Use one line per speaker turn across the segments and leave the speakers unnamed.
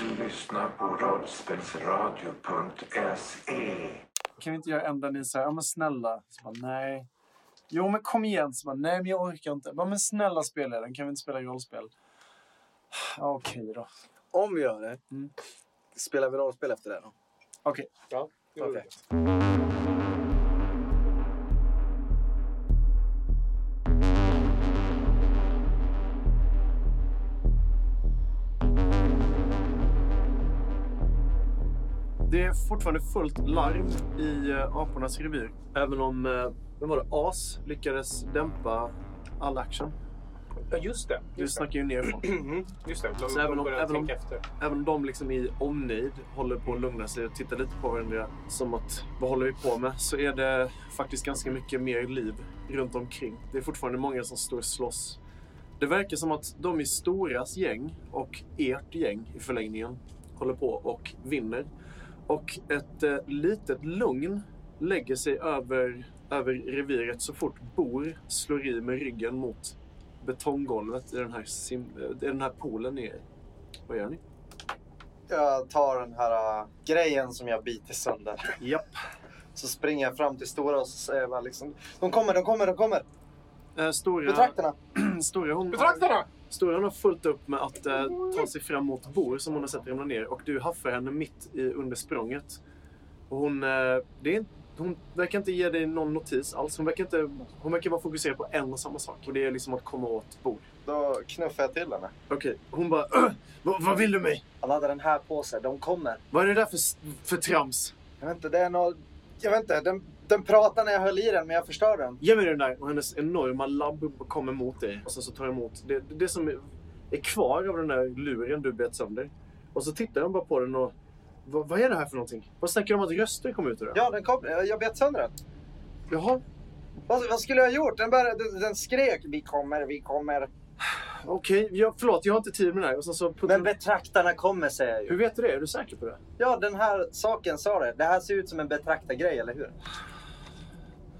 lyssnar på
E.
rollspelsradio.se.
Kan vi inte göra en där ni säger, ja men snälla. Så bara, nej. Jo men kom igen. Så bara, nej men jag orkar inte. Bara, men snälla spelledaren, kan vi inte spela rollspel? Ja, Okej då.
Om vi gör det,
Mm.
spelar vi rollspel efter det då?
Okej.
Ja, jo,
Okej.
Det är fortfarande fullt larv i eh, apornas revir.
Även om... eh, Vem var det? As?
Lyckades dämpa all action.
Ja, just det.
Du
Just det.
snackar ju ner folk.
Mhm, Just det.
Så
De,
även
de
om-
börjar
även om-
tänka efter.
Även om de liksom i omnejd håller på att lugna sig och titta lite på varandra som att vad håller vi på med? Så är det faktiskt ganska mycket mer liv runt omkring. Det är fortfarande många som står och slåss. Det verkar som att de i Storas gäng och ert gäng i förlängningen håller på och vinner. Och ett eh, litet lugn lägger sig över, över reviret så fort Bor slår i med ryggen mot betonggolvet i den här, sim, eh, i den här poolen ni är i. Vad gör ni?
Jag tar den här äh, grejen som jag biter sönder.
Japp.
Så springer jag fram till Stora och så säger jag bara liksom. De kommer, de kommer, de kommer!
Eh, Stora,
Betraktarna!
Stora, hon,
Betraktarna!
Stora hon har fullt upp med att eh, ta sig fram mot Bor som hon har sett ramla ner och du haffar henne mitt i, under språnget. Och hon, eh, det är, inte- hon verkar inte ge dig någon notis alls. Hon verkar, inte, hon verkar vara fokuserad på en och samma sak och det är liksom att komma åt Bor.
Då knuffar jag till henne.
Okej, hon bara "Åh, vad, vad vill du mig?
Han hade den här på sig. De kommer.
Vad är det där för, s- för trams?
Jag vet inte, det är något... Jag vet inte, den, den pratade när jag höll i den men jag förstörde den.
Ge mig den där! Och hennes enorma labb kommer mot dig. Och sen så tar jag emot det, det som är- är kvar av den där luren du bet sönder. Och så tittar jag bara på den och... Vad, vad är det här för någonting? Vad snackar du om att röster kom ut ur den?
Ja, den kom. Jag jag bet sönder den.
Jaha,
Vad, vad skulle jag ha gjort? Den, bara, den, den skrek vi kommer, vi kommer.
okej. Ja, förlåt, jag har inte tid med det här. Och sen så puttar-
Men betraktarna kommer säger jag ju.
Hur vet du det? Är du säker på det?
Ja, den här saken sa det. Det här ser ut som en betraktargrej, eller hur?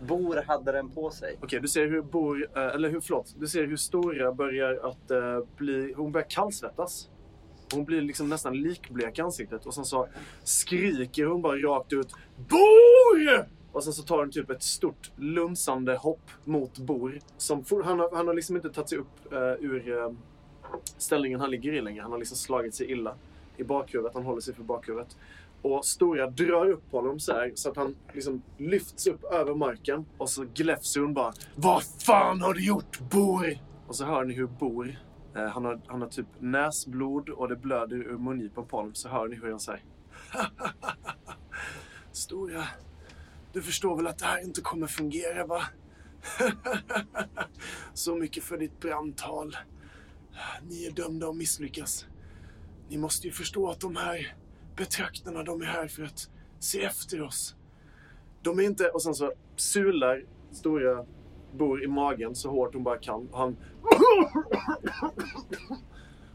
Bor hade den på sig.
Okej, du ser hur Bor... eh, Eller hur, förlåt. Du ser hur Stora börjar att eh, bli... Hon börjar kallsvettas. Hon blir liksom nästan likblek i ansiktet. Och sen så skriker hon bara rakt ut BOR! Och sen så tar hon typ ett stort lunsande hopp mot Bor. Som for, han, har, han har liksom inte tagit sig upp eh, ur eh, ställningen han ligger i längre. Han har liksom slagit sig illa i bakhuvudet. Han håller sig för bakhuvudet. Och Stora drar upp honom så här så att han liksom lyfts upp över marken. Och så gläfser hon bara Vad fan har du gjort Bor? Och så hör ni hur Bor, eh, han, har, han har typ näsblod och det blöder ur mungipan på honom. Så hör ni hur han säger Stora, du förstår väl att det här inte kommer fungera va? så mycket för ditt brandtal. Ni är dömda att misslyckas. Ni måste ju förstå att de här betraktarna, de är här för att se efter oss. De är inte... Och sen så sular Stora Bor i magen så hårt hon bara kan. Och han...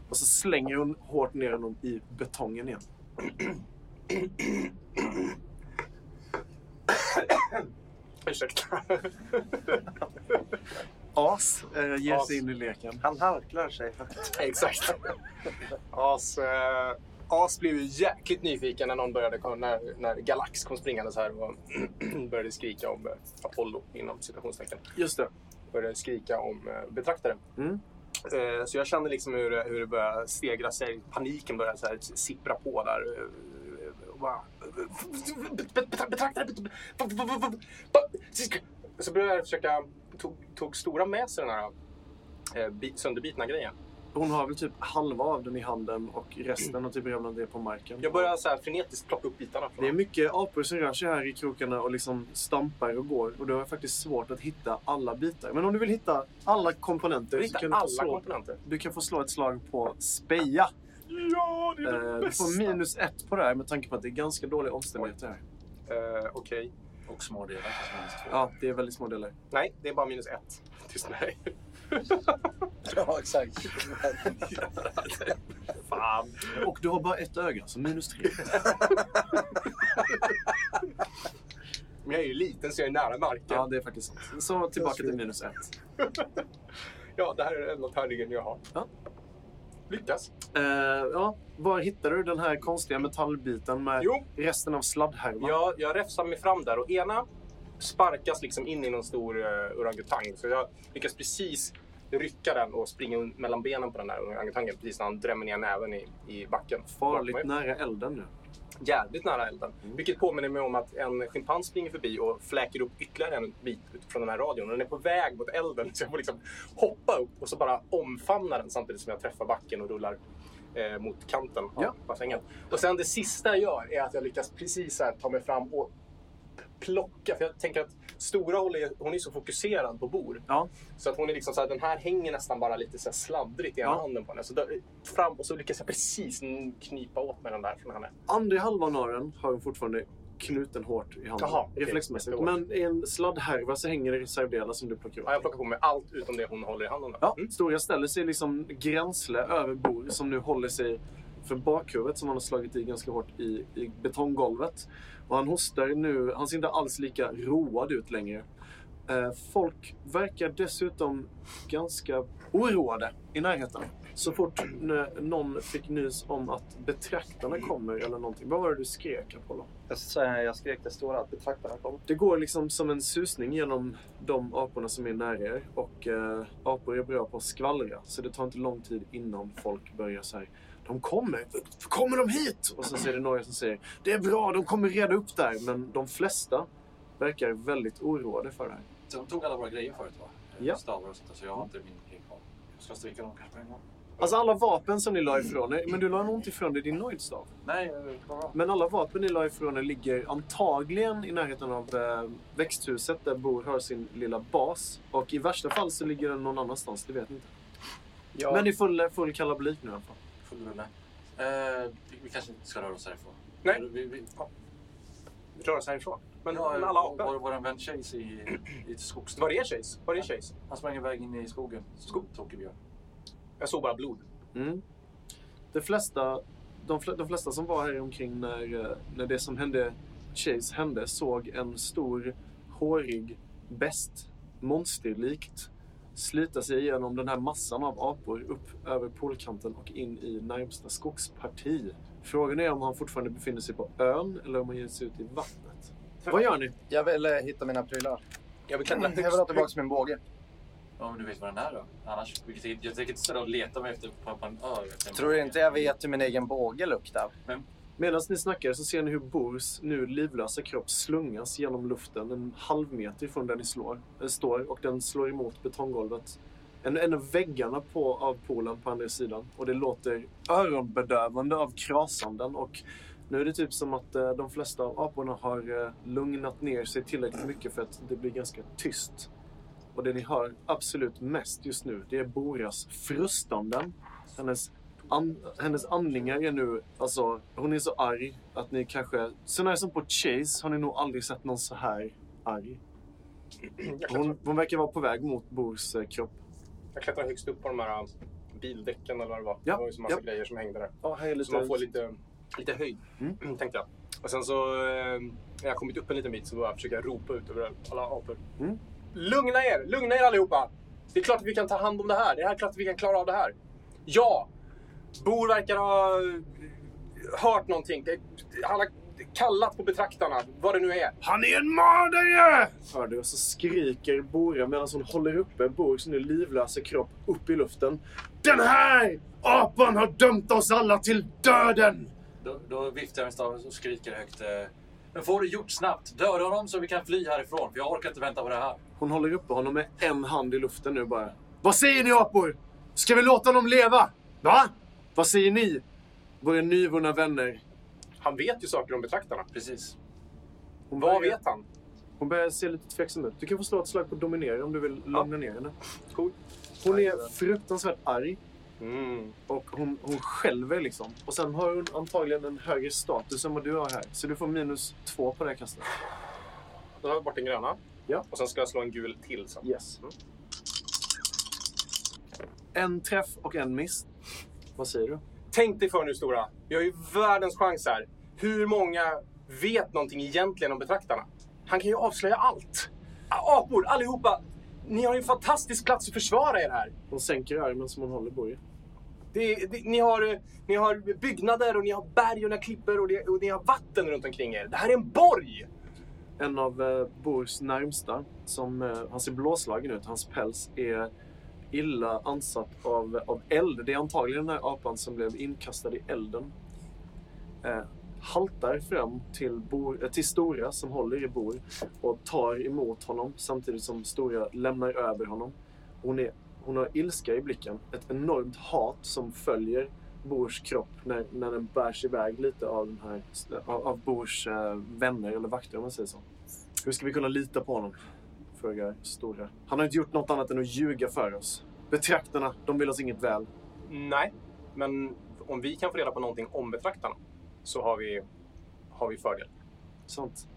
Och så slänger hon hårt ner honom i betongen igen.
Ursäkta.
As eh, ger
As.
sig in i leken.
Han harklar sig.
Exakt. As, eh, As blev ju jäkligt nyfiken när någon började kom- när, när Galax kom springandes här och började skrika om eh, Apollo inom citationstecken.
Just det.
Började skrika om eh, betraktaren.
Mm.
Eh, Så jag kände liksom hur, det- hur det började stegra sig. Paniken började så här sippra på där. Eh, och bara, "Bet- bet- Betraktare! bet- bet- vad- vad- vad- vad- vad-" Så började jag försöka... Tog, tog Stora med sig den här eh, bi- sönderbitna grejen.
Hon har väl typ halva av den i handen och resten har typ ramlat ner på marken.
Jag börjar så här frenetiskt plocka upp bitarna. Från
Det är mycket apor som rör sig här i krokarna och liksom stampar och går. Och det är faktiskt svårt att hitta alla bitar. Men om du vill hitta alla komponenter så
Rikta
kan du, få
alla
slå,
komponenter.
du kan få slå ett slag på speja.
Ja, det
Eh, du får minus ett på det här med tanke på att det är ganska dåliga omständigheter här.
Eh, Okej.
Och smådelar kanske minst två.
Ja, det är väldigt små delar.
Nej, det är bara minus ett. Tyst med dig.
Ja, exakt.
Fan.
Och du har bara ett öga, så minus tre.
Men jag är ju liten så jag är nära marken.
Ja,
Ja,
det är faktiskt sant. Så tillbaka till minus ett.
det här är den enda tärningen jag har.
Ja.
Lyckas.
Eh, ja, var hittar du den här konstiga metallbiten med
Jo,
resten av sladdhärvan?
jag, jag räfsar mig fram där och ena sparkas liksom in i någon stor uh, orangutang. Så jag lyckas precis rycka den och springa un- mellan benen på den här orangutangen precis när han drämmer ner näven i, i backen.
Farligt
Bakom mig.
nära elden nu.
Jävligt nära elden.
Mm.
Vilket påminner mig om att en schimpans springer förbi och fläker upp ytterligare en bit från den här radion. Den är på väg mot elden så jag får liksom hoppa upp och så bara omfamna den samtidigt som jag träffar backen och rullar eh, mot kanten av
Ja.
bassängen. Och sen det sista jag gör är att jag lyckas precis så här ta mig fram och plocka. För jag tänker att Stora håller, hon är så fokuserad på bor.
Ja.
Så att hon är liksom så här, den här hänger nästan bara lite så här sladdrigt i ena
Ja.
handen på henne. Så där, fram och så lyckas jag precis knipa åt mig den där från henne.
Andra halvan av den har hon fortfarande knuten hårt i handen.
Jaha, okej.
reflexmässigt.
Jättehårt.
Men i en sladdhärva så hänger det reservdelar som du plockar upp.
Ja, jag plockar på mig allt utom det hon håller i handen.
Ja,
Mm.
Stora ställer sig liksom gränsle över Bor som nu håller sig för bakhuvudet som han har slagit i ganska hårt i, i betonggolvet. Och han hostar nu, han ser inte alls lika road ut längre. Eh, folk verkar dessutom ganska oroade i närheten. Så fort n- någon fick nys om att betraktarna kommer eller någonting. Vad var det du skrek Apollo?
Jag, sa- jag skrek det stora att betraktarna kom.
Det går liksom som en susning genom de aporna som är nära er. Och eh, apor är bra på att skvallra. Så det tar inte lång tid innan folk börjar så här. De kommer! Kommer de hit? Och sen ser det några som säger. Det är bra, de kommer reda upp där. Men de flesta verkar väldigt oroade för det här.
De tog alla våra grejer förut va? Eh,
Ja.
Stavar och sånt där, så jag
Mm.
har inte min grej kvar. Jag ska stryka dem kanske en gång.
Alltså alla vapen som ni la ifrån er. Men du la nog inte ifrån dig din nojdstav.
Nej, eh, bara...
Men alla vapen ni la ifrån er ligger antagligen i närheten av eh, växthuset där Bor har sin lilla bas. Och i värsta fall så ligger den någon annanstans, det vet ni inte.
Ja.
Men i full, full kalabalik nu i alla fall.
Full rulle. Eh, vi, vi kanske inte ska röra oss härifrån.
Nej.
Vi, vi,
röra sig härifrån. Men,
ja,
men alla
Vår,
apor.
vår vän Chase i, i skogsstaden.
Var är Chase? Var är Chase?
Han sprang iväg in i skogen. Skog. Tokebjörn.
Jag såg bara blod.
Mm. De, flesta, de, fl- de flesta som var här omkring när, eh, när det som hände Chase hände såg en stor, hårig bäst monsterlikt slita sig igenom den här massan av apor upp över polkanten och in i närmsta skogsparti. Frågan är om han fortfarande befinner sig på ön eller om han ger sig ut i vattnet. Vad gör ni?
Jag vill eh, hitta mina prylar.
Jag vill klättra
Jag vill ha tillbaka min båge.
Ja, men du vet vad den är då? Annars, vilket, jag tänker inte ställa och leta mig efter på, på en ö. Jag
Tror du inte jag vet hur min egen båge luktar?
Medan ni snackar så ser ni hur Bors nu livlösa kropp slungas genom luften en halv meter från där ni slår, eh, står och den slår emot betonggolvet. En, en av väggarna på, av poolen på andra sidan och det låter öronbedövande av krasanden och nu är det typ som att eh, de flesta av aporna har eh, lugnat ner sig tillräckligt mycket för att det blir ganska tyst. Och det ni hör absolut mest just nu det är Boras frustanden, hennes An, hennes andningar är nu... Alltså, hon är så arg att ni kanske... Så när som på Chase har ni nog aldrig sett någon så här arg.
Jag klättrar,
Hon, hon verkar vara på väg mot Bors eh, kropp.
jag klättrar högst upp på de här äh, bildäcken eller vad det var.
Ja,
Det var ju så massa
ja.
grejer som hängde där.
Ja, här är
Så man får lite, lite höjd,
Mm.
tänkte jag. Och sen så, eh, när jag kommit upp en liten bit så började jag försöka ropa ut över alla apor.
Mm.
Lugna er! Lugna er allihopa! Det är klart att vi kan ta hand om det här. Det är klart att vi kan klara av det här. Ja! Bor verkar ha eh, hört någonting. Det, han har kallat på betraktarna, vad det nu är.
Han är en mördare! Hör du, och så skriker Bora medan hon håller uppe Bors nu livlösa kropp upp i luften. Den här apan har dömt oss alla till döden!
Då, då viftar jag med staven och skriker högt. Eh, men får det gjort snabbt. Döda honom så vi kan fly härifrån. För jag orkar inte vänta på det här.
Hon håller uppe honom med en hand i luften nu bara. Vad säger ni apor? Ska vi låta dem leva? Va? Vad säger ni? Våra nyvunna vänner.
Han vet ju saker om betraktarna.
Precis.
Hon
Vad
börjar-
vet han?
Hon börjar se lite tveksam ut. Du kan få slå ett slag på dominera om du vill lugna ner henne.
Cool.
Hon är fruktansvärt arg
Mm.
och hon, hon skälver liksom. Och sen har hon antagligen en högre status än vad du har här. Så du får minus två på det här kastet.
Då tar jag bort den gröna.
Ja.
Och sen ska jag slå en gul till sen.
Yes.
Mm.
En träff och en miss. Vad säger du?
Tänk dig för nu Stora. Vi har ju världens chans här. Hur många vet någonting egentligen om betraktarna? Han kan ju avslöja allt. Apor, allihopa! Ni har ju en fantastisk plats att försvara er här.
Hon sänker armen som hon håller Borg.
Det, är- det, ni, har, eh, ni har byggnader och ni har berg och ni har klippor och, det, och ni har vatten runt omkring er. Det här är en borg!
En av eh, Bors närmsta, som, eh, han ser blåslagen ut. Hans päls är illa ansatt av, av eld. Det är antagligen den här apan som blev inkastad i elden. Eh, haltar fram till, Bor, eh, till Stora som håller i Bor och tar emot honom samtidigt som Stora lämnar över honom. Hon, är, hon har ilska i blicken, ett enormt hat som följer Bors kropp när, när den bärs iväg lite av, den här, av, av Bors eh, vänner eller vakter om man säger så. Hur ska vi kunna lita på honom? Frågar Stora. Han har inte gjort något annat än att ljuga för oss. Betraktarna, de vill oss inget väl.
Nej, men om vi kan få reda på någonting om betraktarna så har vi, har vi fördel.
Sant.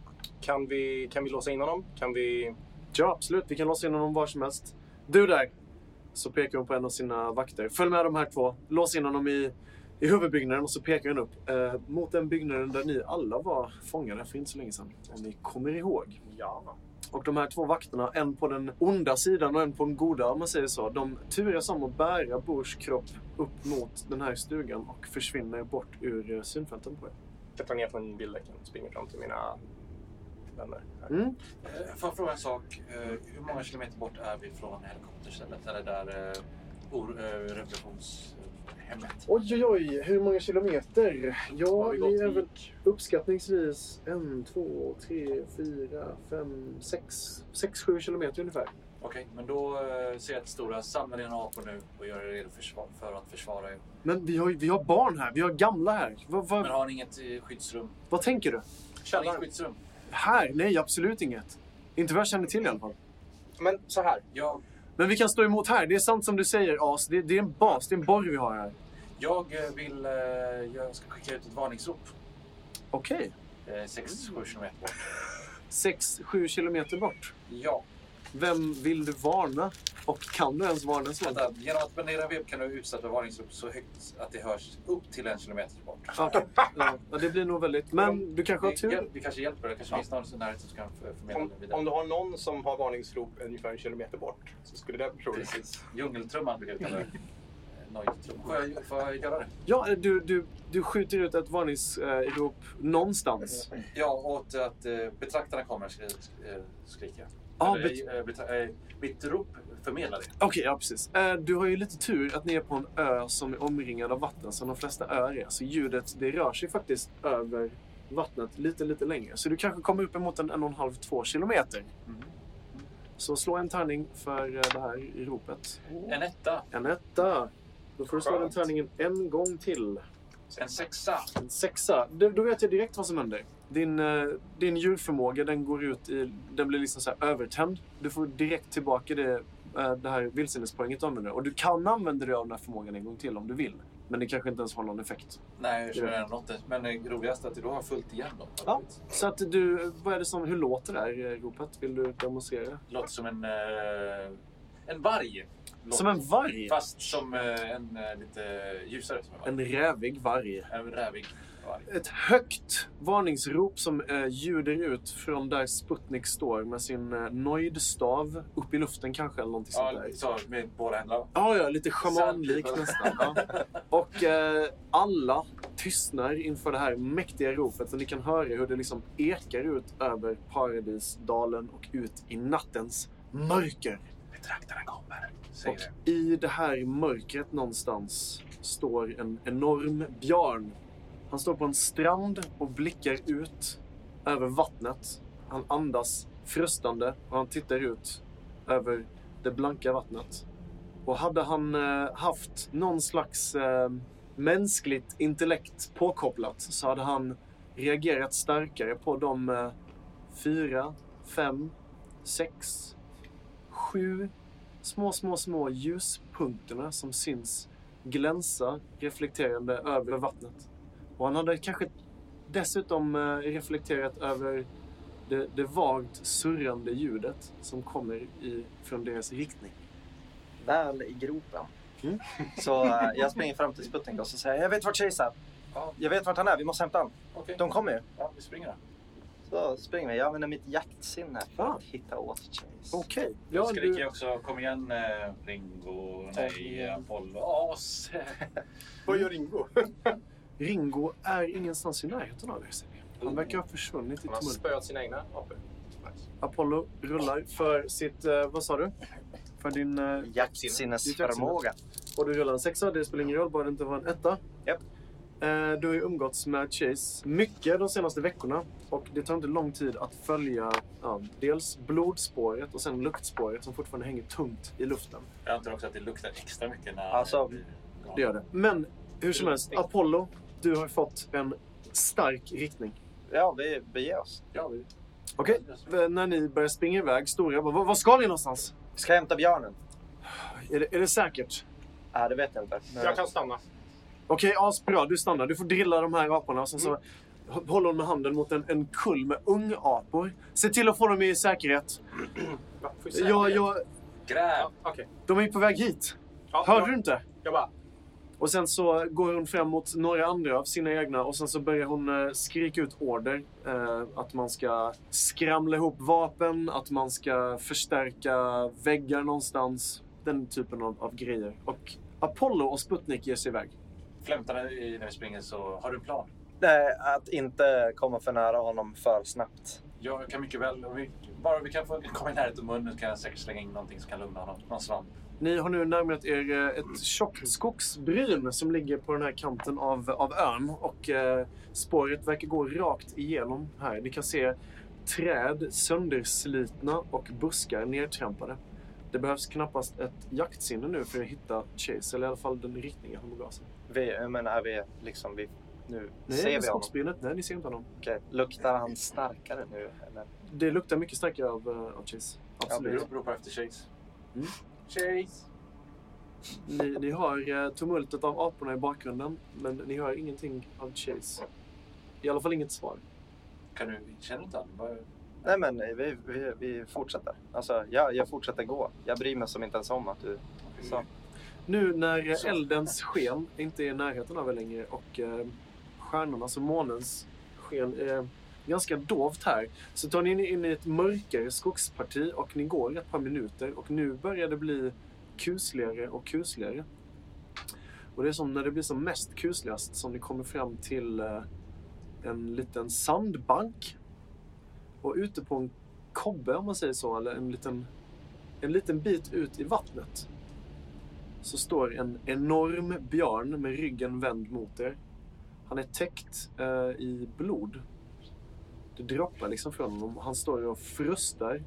Kan vi, kan vi låsa in honom? Kan vi...
Ja, absolut. Vi kan låsa in honom var som helst. Du där! Så pekar hon på en av sina vakter. Följ med de här två. Lås in honom i, i huvudbyggnaden och så pekar hon upp eh, mot den byggnaden där ni alla var fångade för inte så länge sedan. Om ni kommer ihåg.
Ja.
Och de här två vakterna, en på den onda sidan och en på den goda om man säger så. De turas om att bära Bors kropp upp mot den här stugan och försvinner bort ur eh, synfälten på er.
Klättrar ner från bildäcken och springer fram till mina vänner.
Mm.
Eh, Får jag fråga en sak? Eh, Hur många kilometer bort är vi från helikopterstället? Eller där eh, or- eh, reparationshemmet?
Oj, oj, oj. Hur många kilometer? Ja,
Har vi gått
vi är väl
i-
uppskattningsvis en, två, tre, fyra, fem, sex, sex, sju kilometer ungefär.
Okej, men då eh, ser jag att Stora samlar dina apor nu och gör er redo försva- för att försvara er.
Men vi har, vi har barn här. Vi har gamla här. Vad- vad-
Men har ni inget eh, skyddsrum?
vad tänker du?
Har ni inget
Källaren.
skyddsrum?
Här? Nej, absolut inget. Inte vad jag känner till i alla fall.
Men så här.
Jag,
Men vi kan stå emot här. Det är sant som du säger, As. Det, det är en bas. Det är en borg vi har här.
jag eh, vill... eh, Jag ska skicka ut ett varningsrop.
Okej. Mm.
6-7 kilometer bort.
Sex, sju kilometer bort.
Ja,
Vem vill du varna? Och kan du ens varna så?
vänta. Genom att spendera webb kan du utsätta varningsrop så högt att det hörs upp till en kilometer bort.
Okej. Ja, ja, det blir nog väldigt... Men du kanske har
Det,
tur?
hjäl- det kanske hjälper. Det kanske finns någon i närheten som kan för- förmedla
Om,
det vidare.
om du har någon som har varningsrop ungefär en kilometer bort så skulle det bli troligt.
Precis. Djungeltrumman brukar jag kalla det. Eh, Noidtrumman. Får jag, får jag göra det?
Ja, eh, du, du, du skjuter ut ett varningsrop någonstans.
Ja, åt att eh, betraktarna kommer skri, eh, skrika.
Ja,
Eller,
bet-
eh, betra- eh, mitt rop förmedlar det.
Okej, ja precis. Eh, Du har ju lite tur att ni är på en ö som är omringad av vatten som de flesta öar är. Så ljudet, det rör sig faktiskt över vattnet lite, lite längre. Så du kanske kommer upp emot en en och en halv, två kilometer.
Mm.
Så slå en tärning för eh, det här ropet.
En etta,
En etta. Då får du slå den
Skönt.
tärningen en gång till.
en sexa.
En sexa. Då, då vet jag direkt vad som händer. Din, eh, din djurförmåga den går ut i... Den blir liksom så här övertänd. Du får direkt tillbaka det, eh, det här vilsenespoänget du använder. Och du kan använda dig av den här förmågan en gång till om du vill. Men det kanske inte ens har någon effekt.
Nej, jag känner ändå inte. Men det roligaste är att du har fullt igen då.
Ja. Så att du... Vad är det som... Hur låter det här eh, ropet? Vill du demonstrera?
Låter som en... Eh, en varg. Låter.
Som en varg.
Fast som eh, en eh, lite ljusare som en varg.
En rävig varg.
En rävig varg.
Ett högt varningsrop som eh, ljuder ut från där Sputnik står med sin eh, nöjdstav upp i luften kanske eller någonting sånt
Ja,
där.
så med båda händerna.
Ja, ja, lite schamanlikt
Sen-
nästan. Ja. Och eh, alla tystnar inför det här mäktiga ropet. Så ni kan höra hur det liksom ekar ut över paradisdalen och ut i nattens mörker.
Betraktarna kommer, säger
Och
det.
i det här mörkret någonstans står en enorm björn. Han står på en strand och blickar ut över vattnet. Han andas frustande och han tittar ut över det blanka vattnet. Och hade han eh, haft någon slags eh, mänskligt intellekt påkopplat så hade han reagerat starkare på de eh, fyra, fem, sex, sju små, små, små ljuspunkterna som syns glänsa reflekterande över vattnet. Och han hade kanske dessutom eh, reflekterat över det, det vagt surrande ljudet som kommer i, från deras riktning.
Väl i gropen.
Mm.
Så eh, jag springer fram till Sputnik och så säger jag, jag vet vart Chase är.
Ja.
Jag vet vart han är, vi måste hämta han.
Okej,
De kommer ju.
ja, vi springer då.
Så springer vi. Jag använder mitt jaktsinne för
Ah.
att hitta åt Chase.
Okej.
Jag
Ja,
skriker
du,
ju också kom igen eh, Ringo, nej Apollo, as.
Vad gör Ringo?
Ringo är ingenstans i närheten av er. ser ni. Mm. Han verkar ha försvunnit i
Han har
tumultet.
spöat sina egna apor.
Apollo rullar för sitt... eh, vad sa du? För din... eh,
Jaktsinnesförmåga.
och du rullar en sexa. Det spelar ingen roll, bara det inte var en etta.
Japp.
Eh, du har ju umgåtts med Chase mycket de senaste veckorna. Och det tar inte lång tid att följa ja, dels blodspåret och sen luktspåret som fortfarande hänger tungt i luften.
Jag antar också att det luktar extra mycket när...
Alltså,
Det gör det. Men hur som helst, Apollo, du har ju fått en stark riktning.
Ja, vi beger oss.
Ja, vi-
Okej, eh, när ni börjar springa iväg, Stora bara, "Vad- vad ska ni någonstans?
Vi ska hämta björnen.
Är det, är det säkert?
Ja, det vet jag inte. Men-
Jag kan stanna.
Okej, asbra, du stannar. Du får drilla de här aporna. Och sen så
Mm.
hå- håller hon med handen mot en, en kull med ungapor. Se till att få dem i säkerhet.
Va, får vi säga
Ja,
det?
ja,
Gräv!
Ja, Okej.
de är ju på väg hit.
Ja,
Hörde
jag-
du inte?
Jag bara...
Och sen så går hon fram mot några andra av sina egna och sen så börjar hon eh, skrika ut order. Eh, att man ska skramla ihop vapen, att man ska förstärka väggar någonstans. Den typen av, av grejer. Och Apollo och Sputnik ger sig iväg.
Flämtar i när vi springer så har du en plan?
Nej, eh, att inte komma för nära honom för snabbt.
Jag kan mycket väl, om vi, bara vi kan få komma i närheten av munnen kan jag säkert slänga in någonting som kan lugna honom. Någon svamp.
Ni har nu närmat er eh, ett tjockt skogsbryn som ligger på den här kanten av, av ön. Och eh, spåret verkar gå rakt igenom här. Ni kan se träd sönderslitna och buskar nedtrampade. Det behövs knappast ett jaktsinne nu för att hitta Chase, eller i alla fall den riktningen han begav sig.
Vi, jag menar, är vi liksom... Vi, nu
Nej,
ser vi honom.
skogsbrynet. Nej, ni ser inte honom.
Okej, Luktar han starkare nu? Eller?
Det luktar mycket starkare av, eh, av Chase.
Vi
Absolut.
ropar efter Chase.
Mm.
Chase!
Ni, ni hör eh, tumultet av aporna i bakgrunden, men ni hör ingenting av Chase. I alla fall inget svar.
Kan du, känner du inte han? Vad-
Nej, men vi, vi, vi fortsätter. Alltså, jag, jag fortsätter gå. Jag bryr mig som inte ens om att du
Mm.
sa.
Nu när eldens sken inte är i närheten av er längre och eh, stjärnornas och månens sken är ganska dovt här så tar ni in i ett mörkare skogsparti och ni går ett par minuter och nu börjar det bli kusligare och kusligare. Och det är som när det blir som mest kusligast som ni kommer fram till eh, en liten sandbank. Och ute på en kobbe om man säger så, eller en liten, en liten bit ut i vattnet så står en enorm björn med ryggen vänd mot er. Han är täckt eh, i blod. Det droppar liksom från honom. Han står och frustar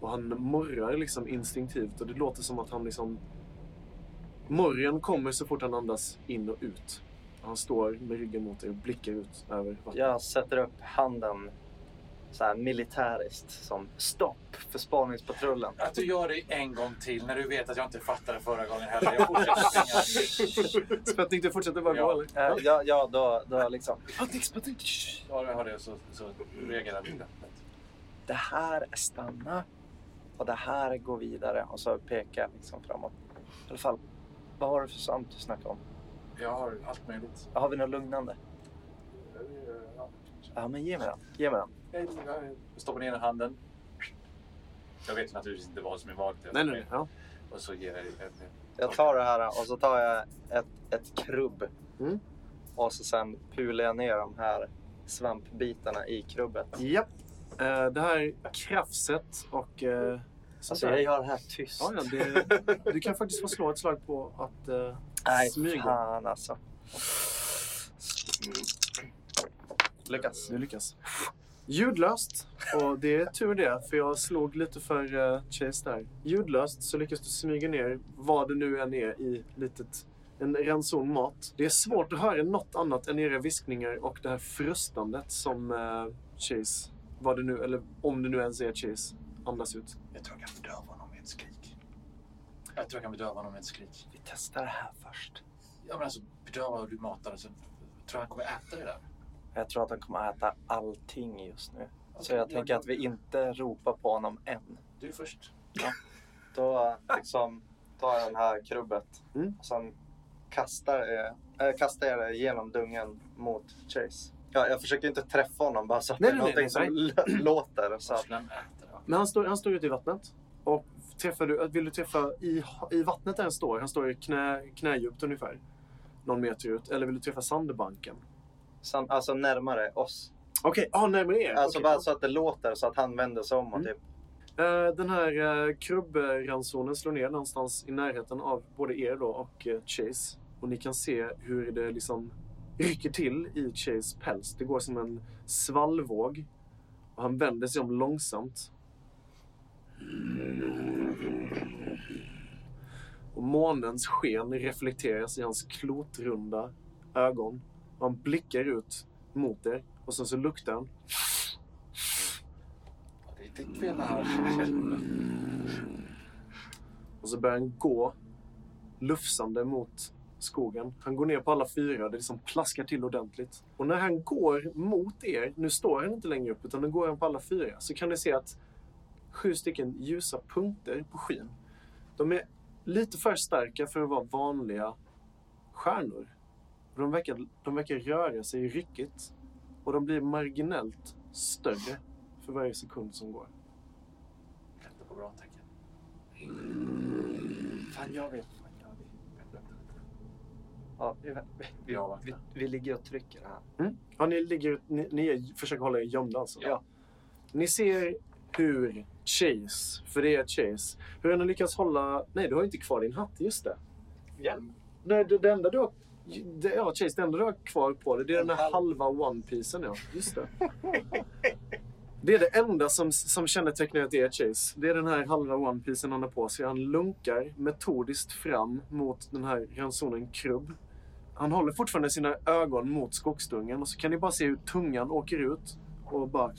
och han morrar liksom instinktivt och det låter som att han liksom... Morren kommer så fort han andas in och ut. Han står med ryggen mot er och blickar ut över vattnet.
Jag sätter upp handen så här militäriskt som stopp för spaningspatrullen.
Att du gör det en gång till när du vet att jag inte fattade förra gången heller. Jag fortsätter springa.
Spötnik, du fortsätter bara gå
Ja.
eller?
Äh, ja, ja, då, då liksom.
Spötnik, Spötnik! shh.
Ja, jag har det så, så reagerar vi.
Det här är stanna och det här går vidare. Och så pekar jag liksom framåt. I alla fall, vad har du för svamp du snackar om?
Jag har allt möjligt.
Har vi något lugnande? Ja, men ge mig den. Ge mig den.
Jag stoppar ner handen. Jag vet naturligtvis inte vad som är vad.
Nej, nej, nej. Ja.
Och så ger jag dig en-
Jag tar det här och så tar jag ett, ett krubb.
Mm.
Och så sen pular jag ner de här svampbitarna i krubbet.
Japp. Eh, det här krafset och... Eh, sånt
Alltså
där.
jag gör det här tyst.
Ja, ja, det, du kan faktiskt få slå ett slag på att eh,
Nej,
smyga.
fan alltså. Lyckas.
Du lyckas. Ljudlöst. Och det är tur det, för jag slog lite för eh, Chase där. Ljudlöst så lyckas du smyga ner vad det nu än är i litet, en ranson mat. Det är svårt att höra något annat än era viskningar och det här frustandet som eh, Chase, vad det nu, eller om det nu ens är Chase, andas ut.
Jag tror jag kan bedöva honom med ett skrik. Jag tror jag kan bedöva honom med ett skrik.
Vi testar det här först.
Ja, men alltså bedöva hur du matar och sen tror jag han kommer äta det där.
Jag tror att han kommer äta allting just nu. Så
Okej,
jag tänker
ja,
att vi inte ropar på honom än.
Du är först.
Då liksom tar jag den här krubbet
Mm.
eh, och sen kastar, jag- äh, kastar jag det genom dungen mot Chase. Ja, jag försöker inte träffa honom bara så att
Nej,
det är
nej, nej,
någonting som l- låter. Så att,
Aslan äter det.
Men han står, han står ute i vattnet. Och träffar du, vill du träffa i, i vattnet där han står? Han står i knä, knädjupt ungefär. Någon meter ut. Eller vill du träffa sandbanken?
sam- alltså närmare oss.
Okej, ah, närmare er.
Alltså
Okej.
bara så att det låter så att han vänder sig om och
Mm.
typ.
Eh, Den här eh, krubbransonen slår ner någonstans i närheten av både er då och eh, Chase. Och ni kan se hur det liksom rycker till i Chase päls. Det går som en svallvåg. Och han vänder sig om långsamt. Och månens sken reflekteras i hans klotrunda ögon. Och han blickar ut mot er. Och sen så luktar han.
Det fick vi en här.
Och så börjar han gå lufsande mot skogen. Han går ner på alla fyra, det liksom plaskar till ordentligt. Och när han går mot er, nu står han inte längre upp utan nu går han på alla fyra, så kan ni se att sju stycken ljusa punkter på skyn. De är lite för starka för att vara vanliga stjärnor. Och De verkar, de verkar röra sig ryckigt och de blir marginellt större för varje sekund som går.
Vänta på bra tecken. Fan, jag vet. Fan, jag vet. Vänta, vänta, vänta.
Ja, vi, vi, vi,
Ja,
vi,
vänta.
vi ligger och trycker här.
Ja, ni, ligger, ni, ni är- försöker hålla er gömda alltså?
Ja.
Ni ser hur Chase, för det är Chase, hur han har lyckats hålla... Nej, du har ju inte kvar din hatt, just det.
Hjälm.
Nej, det, det enda du har... Det, ja, Chase, det enda du har kvar på dig, det är
En
den här
halv.
halva one-piecen, ja. Just det. Det är det enda som, som kännetecknar att det är Chase. Det är den här halva one-piecen han har på sig. Han lunkar metodiskt fram mot den här ransonen Krubb. Han håller fortfarande sina ögon mot skogsdungen och så kan ni bara se hur tungan åker ut och bara...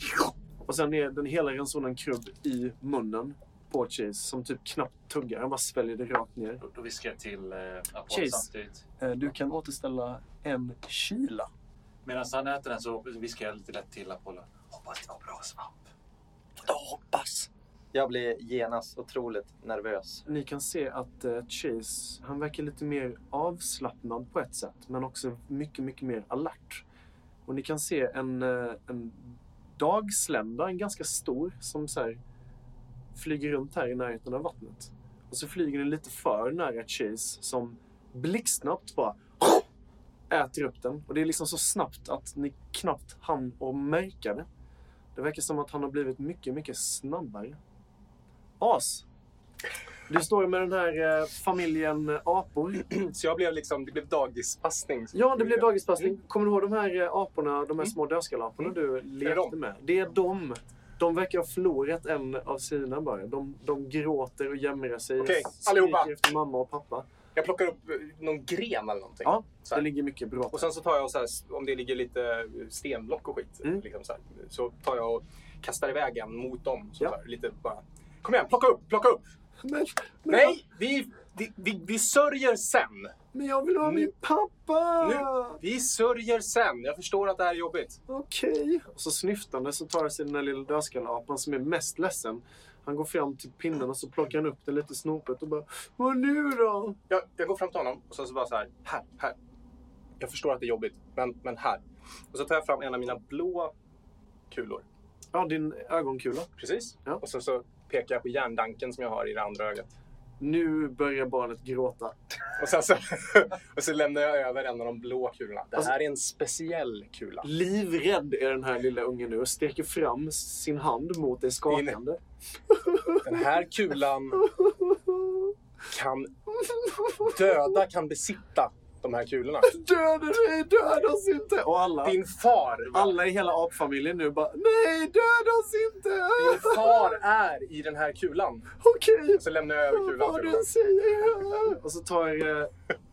Och sen är den hela ransonen Krubb i munnen på Chase som typ knappt tuggar. Han bara sväljer det rakt ner.
Då, då viskar jag till eh, Apollo
Chase.
samtidigt.
Eh, Du kan återställa en kyla.
Medan han äter den så viskar jag lite lätt till Apollo. Hoppas det var bra svamp.
Jag blir genast otroligt nervös.
Ni kan se att eh, Chase, han verkar lite mer avslappnad på ett sätt, men också mycket, mycket mer alert. Och ni kan se en, eh, en dagslända, en ganska stor, som så här flyger runt här i närheten av vattnet. Och så flyger den lite för nära Chase som blixtsnabbt bara äter upp den. Och det är liksom så snabbt att ni knappt hann att märka det. Det verkar som att han har blivit mycket, mycket snabbare. As, du står med den här eh, familjen eh, apor.
Så jag blev liksom, det blev dagispassning. Mm.
Ja, det blev dagispassning. Kommer du ihåg de här eh, aporna, de här små dödskallaporna du
Är
lekte
Mm. det
med? Det är de. De verkar ha förlorat en av sina bara. De, de gråter och jämrar sig.
Okej,
skriker
allihopa.
efter mamma och pappa.
Jag plockar upp eh, någon gren eller någonting.
Ja, det
Så här.
ligger mycket bra.
Och sen så tar jag, så här, om det ligger lite stenblock och skit,
Mm.
liksom så, här, så tar jag och kastar iväg en mot dem. Så
Ja.
så här, lite bara, Kom igen, plocka upp, plocka upp!
Men, men, jag,
Nej, vi, vi, vi, vi sörjer sen.
men jag vill ha min pappa!
Vi sörjer sen. Jag förstår att det här är jobbigt.
Okej. Och så snyftande så tar sig den där lilla dödskallapan som är mest ledsen. Han går fram till pinnen och så plockar han upp den lite snopet och bara Vad nu då?
Jag, jag går fram till honom och sen så bara så här, här, här. Jag förstår att det är jobbigt, men, men här. Och så tar jag fram en av mina blå kulor.
Ja, din ögonkula.
Precis.
Ja.
Och sen så pekar jag på järndanken som jag har i det andra ögat.
Nu börjar barnet gråta.
Och sen så, och så lämnar jag över en av de blå kulorna.
Alltså-
Det här är en speciell kula.
Livrädd är den här lilla ungen nu och sträcker fram sin hand mot dig skakande.
Den här kulan kan... Döda kan besitta de här kulorna.
Döda dig, döda oss inte! Och alla,
Din far, va?
alla i hela apfamiljen nu bara Nej, döda oss inte!
Din far är i den här kulan.
Okej,
Så lämnar jag över kulan
vad
till
du
honom.
säger! Och så tar eh,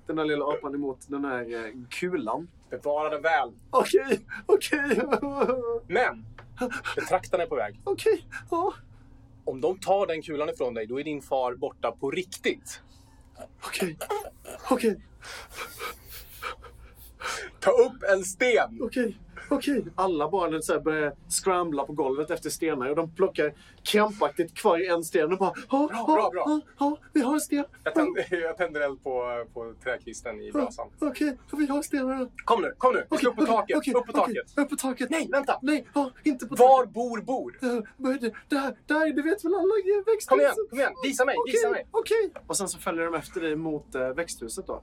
den här lilla apan emot den här eh, kulan.
Bevara den väl.
Okej, okej,
Men, betraktaren är på väg.
okej, ja.
Om de tar den kulan ifrån dig, då är din far borta på riktigt.
Okej, okej,
Ta upp en sten!
okej, okej. Alla barnen så här börjar scrambla på golvet efter stenar och de plockar krampaktigt kvar i en sten och bara...
Bra, bra, bra.
Ja, vi har har sten.
Jag tänder, jag tänder eld på, på träkvisten i brasan.
Okej, vi har stenarna.
Kom nu, kom nu! Vi ska upp på taket,
okej,
upp på
okej,
taket.
upp på taket.
Nej, vänta!
Nej, ja, inte på
Var
taket.
bor bor?
Eh, vad är det? Där, där, det vet väl alla i växthuset?
Kom igen, kom igen! Visa mig,
Okej,
visa mig!
okej. Och sen så följer de efter dig mot eh, växthuset då?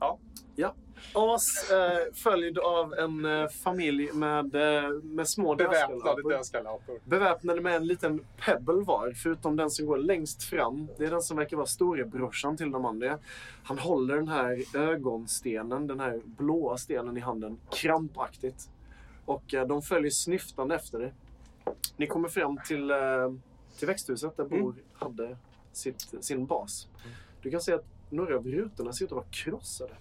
Ja.
Ja. As eh, följd av en eh, familj med, eh, med små
Beväpnade
dödskallar.
dödskallapor.
Beväpnade med en liten pebble var, förutom den som går längst fram. Det är den som verkar vara storebrorsan till de andra. Han håller den här ögonstenen, den här blåa stenen i handen, krampaktigt. Och eh, de följer snyftande efter dig. Ni kommer fram till, eh, till växthuset där Bor hade sitt, sin bas. Du kan se att några av rutorna ser ut att vara krossade.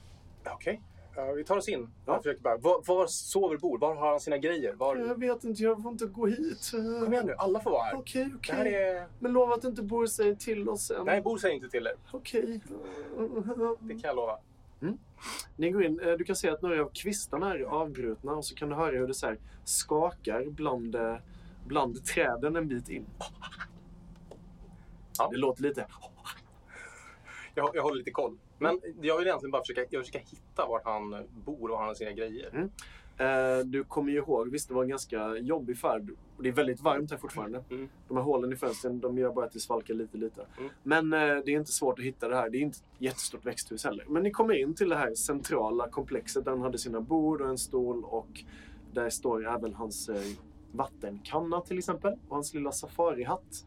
Okej, ja, vi tar oss in.
Ja.
Jag försöker bara, var, var sover bor? Var har han sina grejer? Var...
Jag vet inte, jag får inte gå hit. Eh,
Kom igen nu, alla får vara här.
Okej,
Det
okej.
här är...
Men lova att inte Bor säger till oss än.
Nej, bor säger inte till er.
Okej.
Det kan jag lova.
Ni går in, eh, du kan se att några av kvistarna är avbrutna och så kan du höra hur det så här skakar bland, eh, bland träden en bit in.
Ja.
Det låter lite...
Jag, jag håller lite koll. Men jag vill egentligen bara försöka, jag vill försöka hitta var han bor och var han har sina grejer.
Eh, Du kommer ju ihåg, visst det var en ganska jobbig färd och det är väldigt varmt här fortfarande.
Mm.
De här hålen i fönstren de gör bara att det svalkar lite lite.
Mm.
Men eh, det är inte svårt att hitta det här. Det är inte ett jättestort växthus heller. Men ni kommer in till det här centrala komplexet där han hade sina bord och en stol och där står även hans eh, vattenkanna till exempel och hans lilla safarihatt.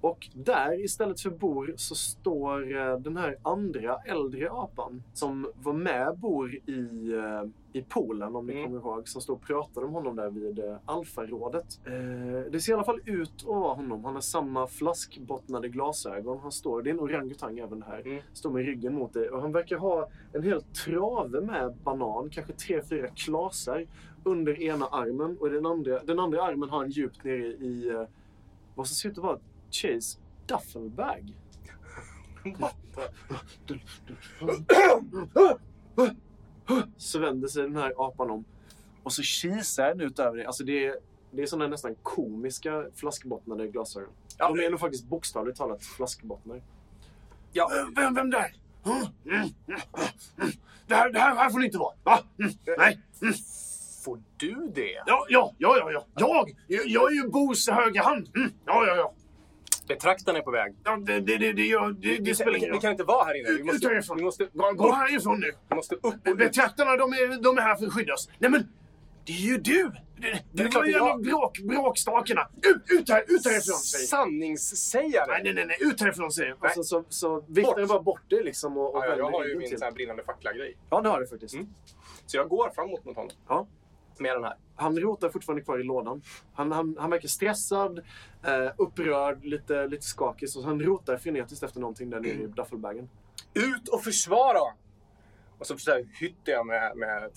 Och där istället för Bor så står eh, den här andra äldre apan som var med Bor i, eh, i poolen om ni
Mm.
kommer ihåg som stod och pratade om honom där vid eh, alfarådet. Eh, Det ser i alla fall ut att vara honom. Han har samma flaskbottnade glasögon. Han står, det är en orangutang även här.
Mm.
Står med ryggen mot dig och han verkar ha en hel trave med banan, kanske tre, fyra klasar under ena armen och den andra, den andra armen har han djupt nere i eh, vad som ser ut att vara Chase duffelbag. Så vänder sig den här apan om och så kisar den ut över dig. Alltså det är, det är sådana nästan komiska flaskbottnade glasögon.
Ja.
De är nog faktiskt bokstavligt talat flaskbottnar.
Ja.
Vem, vem där? Det här, det här, här får ni inte vara. Va? Nej.
Får du det?
Ja, ja, ja, ja, ja. Jag, jag, jag är ju Bos högra hand. Mm. Ja, ja, ja.
Betraktaren är på väg.
ja det, det, det, det, gör- det,
Vi,
det
kan,
spelar
vi,
ingen
kan,
roll.
vi kan inte vara här inne. Vi
Ut-
måste,
ut härifrån.
vi måste,
Gå, gå härifrån nu.
vi måste upp och ut.
Betraktarna, de är, de är här för att skydda oss. Nej, men det är ju du! Det,
Det är
du var
klart
ju
det
en
är
av bråk, bråkstakarna. Ut, ut, här, ut härifrån, säger jag. Nej,
Sanningssägare!
nej, nej, nej, ut härifrån, säger jag.
Nej.
Och sen Alltså, så, så viftar jag bara bort det liksom och, och
Ja, ja, jag har ju
ryggen
min
till.
så här brinnande fackla-grej.
Ja, det har du faktiskt.
Mm. Så jag går framåt mot honom.
Ja.
Med den här.
Han rotar fortfarande kvar i lådan. Han, han, han verkar stressad, eh, upprörd, lite, lite skakig. Så han rotar frenetiskt efter någonting där nere i
Mm.
duffelbagen.
Ut och försvara! Och så, så här hytter jag med, med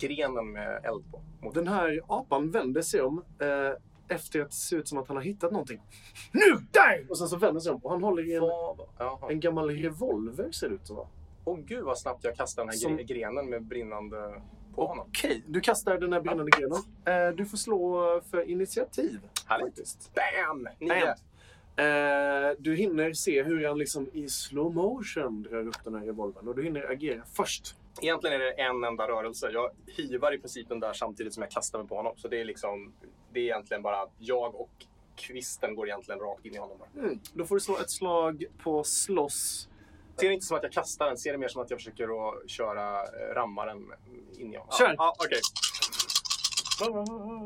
trägrenen med eld på. Mot
Den här apan vänder sig om eh, efter att det ser ut som att han har hittat någonting. Nu! Där! Och sen så vänder sig om och han håller i en,
Vad- Jaha.
en gammal revolver ser det ut som. va?
Åh gud vad snabbt jag kastade den här
Som-
gre- grenen med brinnande på honom.
Okej, du kastar den här brinnande grenen. Eh, du får slå för initiativ.
Härligt.
Faktiskt.
Bam! Nio.
Bam! Eh, du hinner se hur han liksom i slow motion drar upp den här revolvern och du hinner agera först.
Egentligen är det en enda rörelse. Jag hivar i princip den där samtidigt som jag kastar mig på honom. Så det är liksom, det är egentligen bara jag och kvisten går egentligen rakt in i honom. Bara.
Mm. Då får du slå ett slag på slåss.
Ser det inte som att jag kastar den, ser det mer som att jag försöker att köra eh, rammaren in i honom.
Kör!
Ja, ja, okej.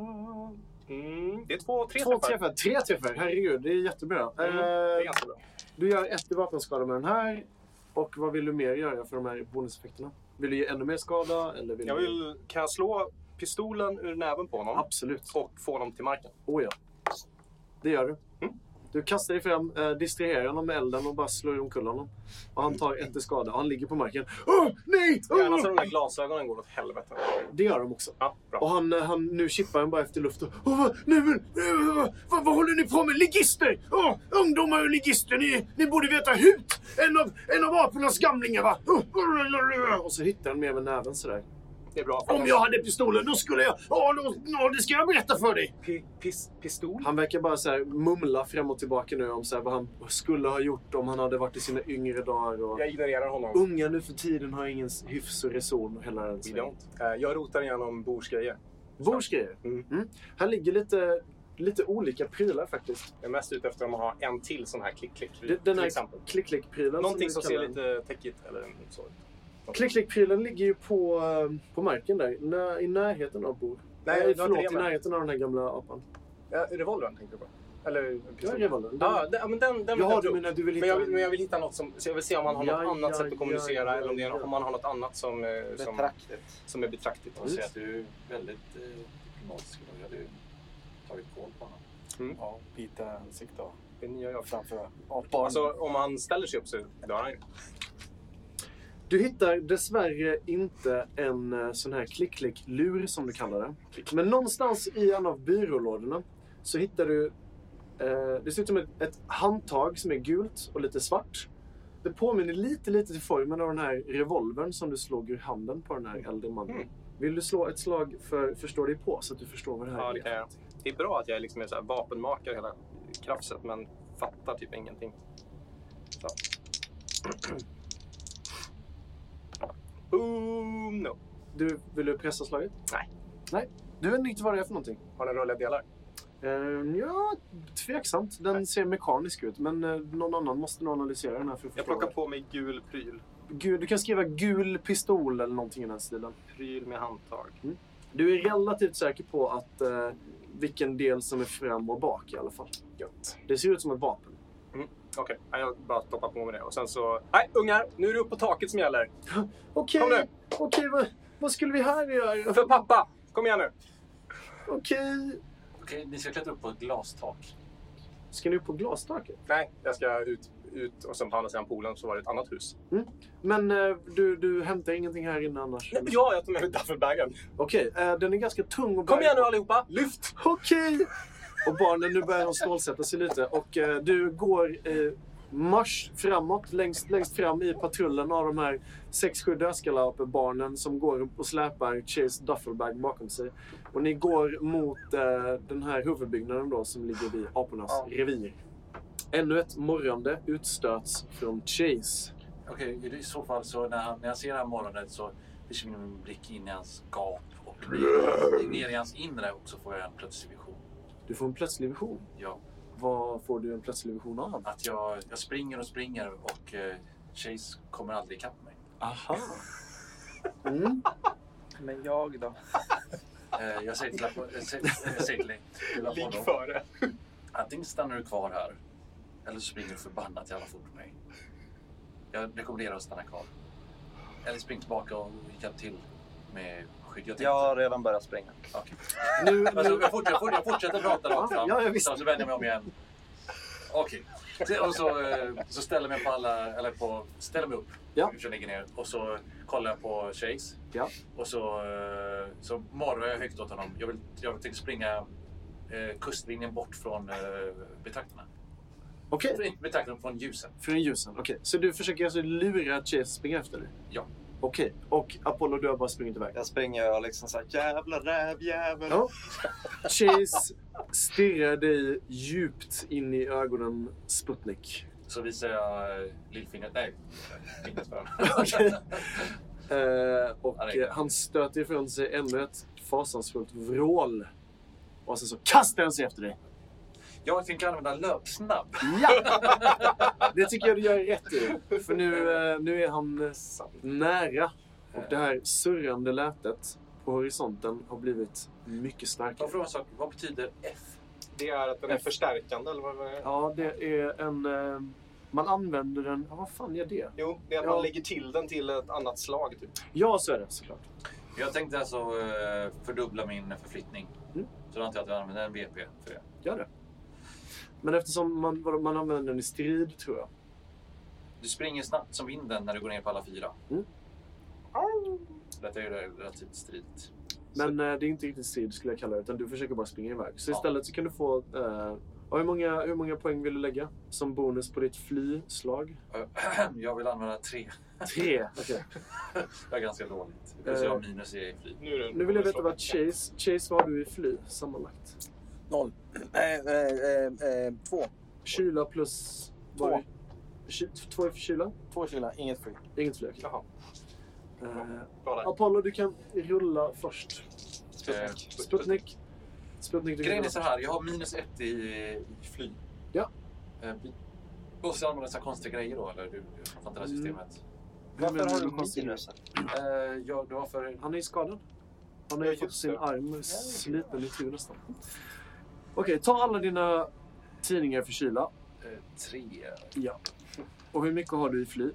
Mm, det är två, tre
Två
träffar.
träffar, tre träffar, herregud, det är jättebra.
Mm, det är
Eh,
ganska bra.
Du gör ett i vapenskada med den här. Och vad vill du mer göra för de här bonuseffekterna? Vill du ge ännu mer skada? Eller vill
Jag
du-
vill, kan jag slå pistolen ur näven på honom
Absolut.
och få honom till marken?
Oh ja. Det gör du.
Mm.
Du kastar dig fram, eh, distraherar honom med elden och bara slår omkull honom. Och han tar ett i skada och han ligger på marken. Åh, nej! Åh!
Gärna så de där glasögonen går åt helvete.
Det gör de också.
Mm. Ja, bra.
Och han, eh, han, nu chippar han bara efter luft. Och, Åh, vad, nej, men, eh, vad, vad, vad håller ni på med? Ligister! Åh, ungdomar och ligister, ni, ni borde veta hut! En av, en av apornas gamlingar va! Åh, åh, åh, åh, åh. Och så hittar han mer med näven sådär.
är bra. för
Om jag hade pistolen, då skulle jag... Ja, då, ja, det ska jag berätta för dig!
Pi- pis, pistol?
Han verkar bara så här mumla fram och tillbaka nu om så här vad han skulle ha gjort om han hade varit i sina yngre dagar. Och...
Jag ignorerar honom.
Unga nu för tiden har ingen hyfs och reson och hela den
We
svängen.
don't. Eh, Jag rotar igenom Bors grejer.
Bors grejer.
Mm.
Mm. Här ligger lite, lite olika prylar faktiskt.
Jag är mest ute efter att ha en till sån här klick-klick.
Det- Den
till
här
exempel.
klick-klick-prylen.
Någonting
vi
som
kallar
ser
den.
lite täckigt eller så.
Klick-klick-prylen ligger ju på, eh, på marken där, nä, i närheten av Bor.
Nej,
Nej,
det var inte
förlåt,
det
i
jag
närheten av den här gamla apan.
Ja, revolvern tänkte jag på. Eller
Ja,
pistolen.
revolvern. Den-
Ja, den, ja, men den, den vill
Jag har
jag ta
du
upp.
menar du vill
Men
hitta...
jag, vill, men jag vill hitta något som... Så jag vill se om han har något
Ja,
annat
ja,
sätt att kommunicera
ja,
eller om, det är,
ja.
om han har något annat som, eh, som,
Betraktet.
som är betraktigt.
Jag ser att du är väldigt eh, diplomatisk idag. Jag hade ju tagit koll på honom.
Mm.
Ja, bita ansikte och
Det nya jag.
framför
Apbarn.
Alltså om han ställer sig upp så dör han ju.
Du hittar dessvärre inte en eh, sån här klick-klick-lur som du kallar det. Men någonstans i en av byrålådorna så hittar du... Eh, det ser ut som ett, ett handtag som är gult och lite svart. Det påminner lite, lite till formen av den här revolvern som du slog ur handen på den här äldre mannen.
Mm.
Vill du slå ett slag för förstå dig på så att du förstår vad det här
Ja,
är?
det kan jag. Det är bra att jag liksom är så här vapenmakare hela krafset men fattar typ ingenting. Så. Boom! No.
Du, vill du pressa slaget?
Nej.
Nej. Du vet inte vad det är för någonting?
Har den rörliga delar?
Eh, ja, tveksamt. Den ser mekanisk ut, men eh, någon annan måste nog analysera den här för att
Jag
förstå
plockar
det.
på mig gul pryl.
Gul, du kan skriva gul pistol eller någonting i den stilen.
Pryl med handtag.
Du är relativt säker på att eh, vilken del som är fram och bak i alla fall.
Gött.
Det ser ut som ett vapen.
Okej, nej, jag bara stoppar på mig det. Och sen så... Nej, ungar! Nu är det upp på taket som gäller.
Okej,
Kom nu.
okej, vad, vad skulle vi här göra?
För pappa! Kom igen nu!
Okej.
Okej, ni ska klättra upp på ett glastak.
Ska ni upp på glastaket?
Nej, jag ska ut, ut och sen på andra sidan poolen så var det ett annat hus.
Men eh, du, du hämtar ingenting här inne annars?
Nej, men ja, jag tog med mig duffelbagen.
Okej, eh, den är ganska tung och
Kom
bär-
igen nu allihopa! Lyft!
Okej! Och barnen, nu börjar de stålsätta sig lite. Och eh, du går eh, marsch framåt, längst, längst fram i patrullen av de här sex, sju dödskalapper-barnen som går och släpar Chase duffelbag bakom sig. Och ni går mot eh, den här huvudbyggnaden då som ligger vid apornas
Ja.
revir. Ännu ett morrande utstöts från Chase.
Okej, i så fall så när, han, när jag ser det här morgonet så försvinner min blick in i hans gap och ner, ner i hans inre och så får jag en plötslig vision.
Du får en plötslig vision.
Ja,
Vad får du en plötslig vision av?
att jag, jag springer och springer och eh, Chase kommer aldrig ikapp mig.
Aha! Mm.
Men jag då?
Eh, jag säger till, Apo- jag säger, jag säger till, till
Ligg
Apollo,
före.
antingen stannar du kvar här eller så springer du förbannat jävla fort på mig. Jag rekommenderar att stanna kvar. Eller spring tillbaka och hjälp till med skydd. Jag tänkte,
Jag har redan börjat springa.
Nu,
Alltså, jag, fortsätter, jag fortsätter- jag fortsätter prata rakt fram.
Ja, ja, visst.
Sen Så vänder jag mig om igen. Okej. Så- Och så, eh, så ställer jag mig på alla, eller på, ställer mig upp.
Ja.
Så ligger ner. Och så kollar jag på Chase.
Ja.
Och så, eh, så morrar jag högt åt honom. Jag vill, jag vill springa eh, kustlinjen bort från eh, betraktarna.
Okej.
Eller Inte betraktarna, från ljusen.
Från ljusen, okej. Så du försöker alltså lura Chase att springa efter dig?
Ja.
Okej, och Apollo du har bara sprungit iväg?
Jag springer och liksom såhär, jävla rävjävel.
Ja. Chase stirrar dig djupt in i ögonen, Sputnik.
Så visar jag eh, lillfingret. Nej, fingret för
Okej. Eh,
Ja,
och
det är
eh, han stöter ifrån sig ännu ett fasansfullt vrål. Och sen så kastar han sig efter dig.
Jag tänker använda löpsnabb.
Ja! Det tycker jag du gör rätt i. För nu, eh, nu är han eh, nära. Och
Eh.
det här surrande lätet på horisonten har blivit mycket
Ta
starkare.
från en sak. Vad betyder F?
Det är att den är förstärkande eller vad vad är det?
Ja, det är en... eh, Man använder den... Ja, vad fan är det?
Jo, det är att
Ja.
man lägger till den till ett annat slag typ.
Ja, så är det såklart.
Jag tänkte alltså eh, fördubbla min förflyttning.
Mm.
Så då antar jag att jag använder en VP för det.
Gör det. Men eftersom man, vadå, man använder den i strid, tror jag.
Du springer snabbt som vinden när du går ner på alla fyra.
Mm.
Detta är ju relativt stridigt.
Men eh, det är inte riktigt strid, skulle jag kalla det. Utan du försöker bara springa iväg. Så
Ja.
istället så kan du få eh, Och hur, många, hur många poäng vill du lägga som bonus på ditt fly-slag?
Eh, Jag vill använda tre.
Tre. Okej.
Jag är ganska dåligt. Plus
Eh,
jag har minus i flyg.
Nu, är det-
Nu vill jag veta vad Chase... Chase, vad har du i fly sammanlagt?
Noll. Eh, eh, eh, eh, två.
Kyla plus... vad är- Ky, två är för kyla?
Två kyla, inget flyg.
Inget flyg.
Jaha.
Eh,
Bra där.
Apollo, du kan rulla först.
Eh,
Sputnik. Sputnik, du kan
Grejen är
rulla.
så här, jag har minus ett i, i fly.
Ja.
Eh, vi- Måste jag använda så här konstiga grejer då, eller hur hur fattar det här
Mm.
systemet?
menar
Varför har
du
du
med konstigt?
minus?
Eh, ja, det var för...
Han är ju skadad. Han har
Ja,
ju fått
just
sin
det.
arm sliten i tur nästan. Okej, ta alla dina tidningar för kyla.
Eh, tre.
Ja. Och hur mycket har du i fly?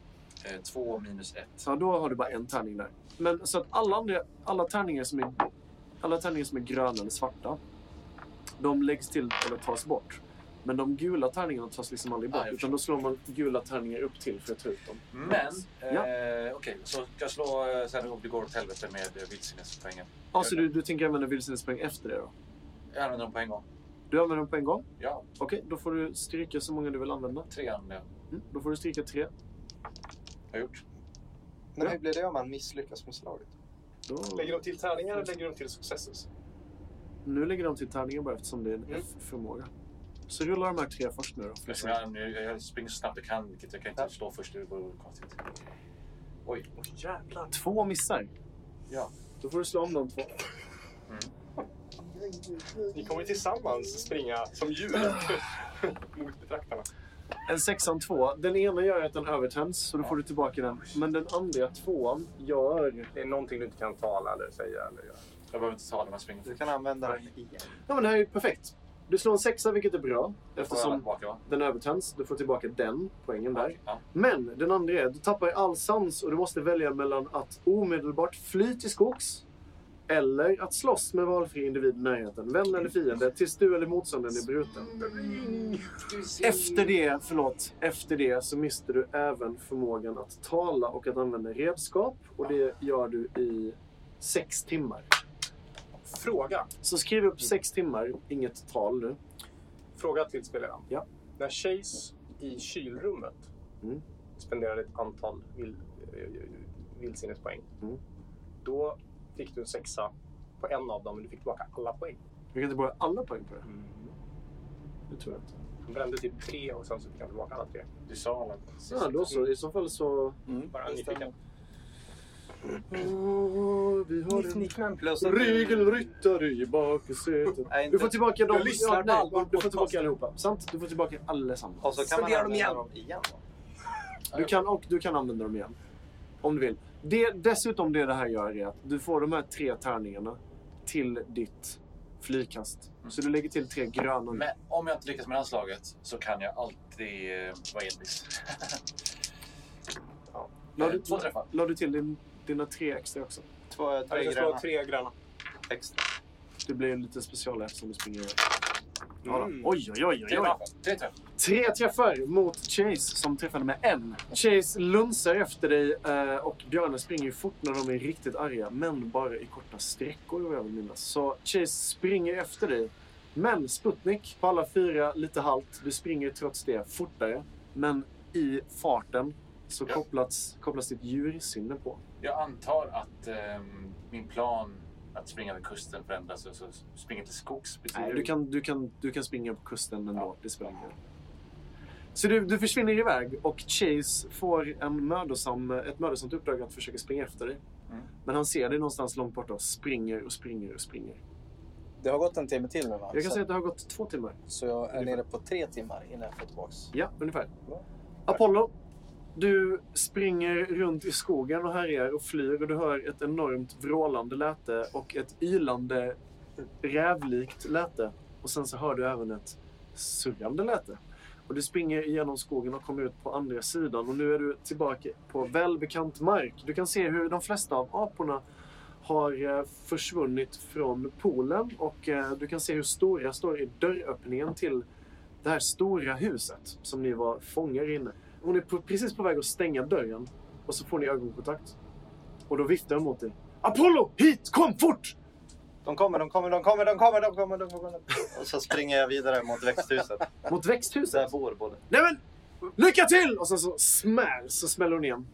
Eh, två minus ett.
Ja, då har du bara en tärning där. Men så att alla, andra, alla, tärningar som är, alla tärningar som är gröna eller svarta, de läggs till eller tas bort. Men de gula tärningarna tas liksom aldrig bort,
Ah, jag
utan då slår man gula tärningar upp till för att ta ut dem.
Men, eh,
Ja.
okej, så ska jag slå eh, sen om det går åt helvete med eh, vildsinnespoängen.
Ah, så du, du tänker använda vildsvinspoäng efter det då?
Jag använder dem på en gång.
Du använder dem på en gång?
Ja,
Okej, då får du stryka så många du vill använda.
tre använder jag.
Mm, då får du stryka tre.
Jag har gjort.
Men hur blir det om man misslyckas med slaget?
Då...
Lägger de till tärningar eller lägger de till successes?
Nu lägger de till tärningar bara eftersom det är en F-förmåga. Så rullar de här tre först nu då.
Eftersom jag, jag, jag springer så snabbt jag kan, vilket jag kan inte slå först. Det vore konstigt. Oj,
Åh jävlar.
Två missar.
Ja.
Då får du slå om de två.
Ni kommer tillsammans springa som djur mot betraktarna.
En sexan två. Den ena gör att den övertänds, så då får du tillbaka den. Men den andra tvåan gör...
Det är någonting du inte kan tala eller säga eller göra.
jag behöver inte ta dem. Jag springer.
Du kan använda den igen.
Ja, men det här är ju perfekt. Du slår en sexa, vilket är bra.
Får jag alla
Eftersom
tillbaka, va?
den övertänds. Du får tillbaka den poängen där.
Ja.
Men den andra är, du tappar ju all sans och du måste välja mellan att omedelbart fly till skogs eller att slåss med valfri individ i närheten, vän eller fiende, tills du eller motståndaren är bruten. Efter det, förlåt, efter det så mister du även förmågan att tala och att använda redskap och det gör du i sex timmar.
Fråga.
Så skriv upp sex timmar, inget tal nu.
Fråga till spelaren.
Ja.
När Chase i kylrummet
Mm.
spenderade ett antal vill, eh, vildsinnespoäng.
Mm.
Då fick du en sexa på en av dem, men du fick tillbaka alla poäng.
Vi kan inte börja alla poäng på det. Det tror jag inte.
Han brände typ tre och sen så fick han tillbaka alla tre.
Du sa alla.
Ja, då så. I så fall så...
Bara nyfiken.
Mm. Åh, vi har en
Plus att
regelryttare i baksätet.
Nej, inte.
Du får typ tillbaka dem.
Jag lyssnar
Ja, nej,
på allvar
Du
på
får tillbaka
podcasten.
allihopa. Sant? Du får tillbaka allesammans.
Och så kan man
Spendera dem
använda
igen.
dem igen. då.
Du kan, och du kan använda dem igen. Om du vill. Det, dessutom det det här gör är att du får de här tre tärningarna till ditt flygkast.
Mm.
Så du lägger till tre gröna. nu.
Men om jag inte lyckas med det här slaget så kan jag alltid eh, vara envis. Eh,
La
eh,
du,
Två träffar.
la du till din, dina tre extra också?
Två,
Jag
tre
ska slå
gröna
tre gröna.
extra.
Det blir lite special eftersom du springer iväg. Ja, då.
Mm.
Oj, oj, oj, oj,
Tre
oj.
träffar. Tre träffar.
Tre träffar mot Chase som träffade med en. Chase lunsar efter dig eh, och björnen springer ju fort när de är riktigt arga, men bara i korta sträckor vad jag vill minnas. Så Chase springer efter dig. Men Sputnik på alla fyra, lite halt. Du springer trots det fortare, men i farten så
Ja.
kopplas, kopplas ditt djursinne på.
Jag antar att ehm, min plan att springa vid kusten förändras. och Så springer till skogs betyder
Du kan, du, kan, du kan springa på kusten ändå, det spelar ingen roll. Så du, du försvinner iväg och Chase får en mödosam, ett mödosamt uppdrag att försöka springa efter dig.
Mm.
Men han ser dig någonstans långt borta och springer och springer och springer.
Det har gått en timme till nu va?
Alltså.
Jag kan
så,
säga att det har gått två timmar.
så jag är nere på tre timmar innan jag får tillbaka.
Ja, ungefär.
Bra.
Apollo, du springer runt i skogen och härjar och flyr och du hör ett enormt vrålande läte och ett ylande rävlikt läte. Och sen så hör du även ett surrande läte. Och du springer igenom skogen och kommer ut på andra sidan och nu är du tillbaka på välbekant mark. Du kan se hur de flesta av aporna har eh, försvunnit från poolen och eh, du kan se hur stora står i dörröppningen till det här stora huset som ni var fångar inne. Hon är på, precis på väg att stänga dörren och så får ni ögonkontakt. Och då viftar hon mot dig. Apollo! Hit! Kom fort!
De kommer, de kommer, de kommer, de kommer, de kommer, de kommer. Och så springer jag vidare mot växthuset.
Mot
Där
växthuset.
bor både.
Nej men! Lycka till! Och sen så smäll, så smäller hon igen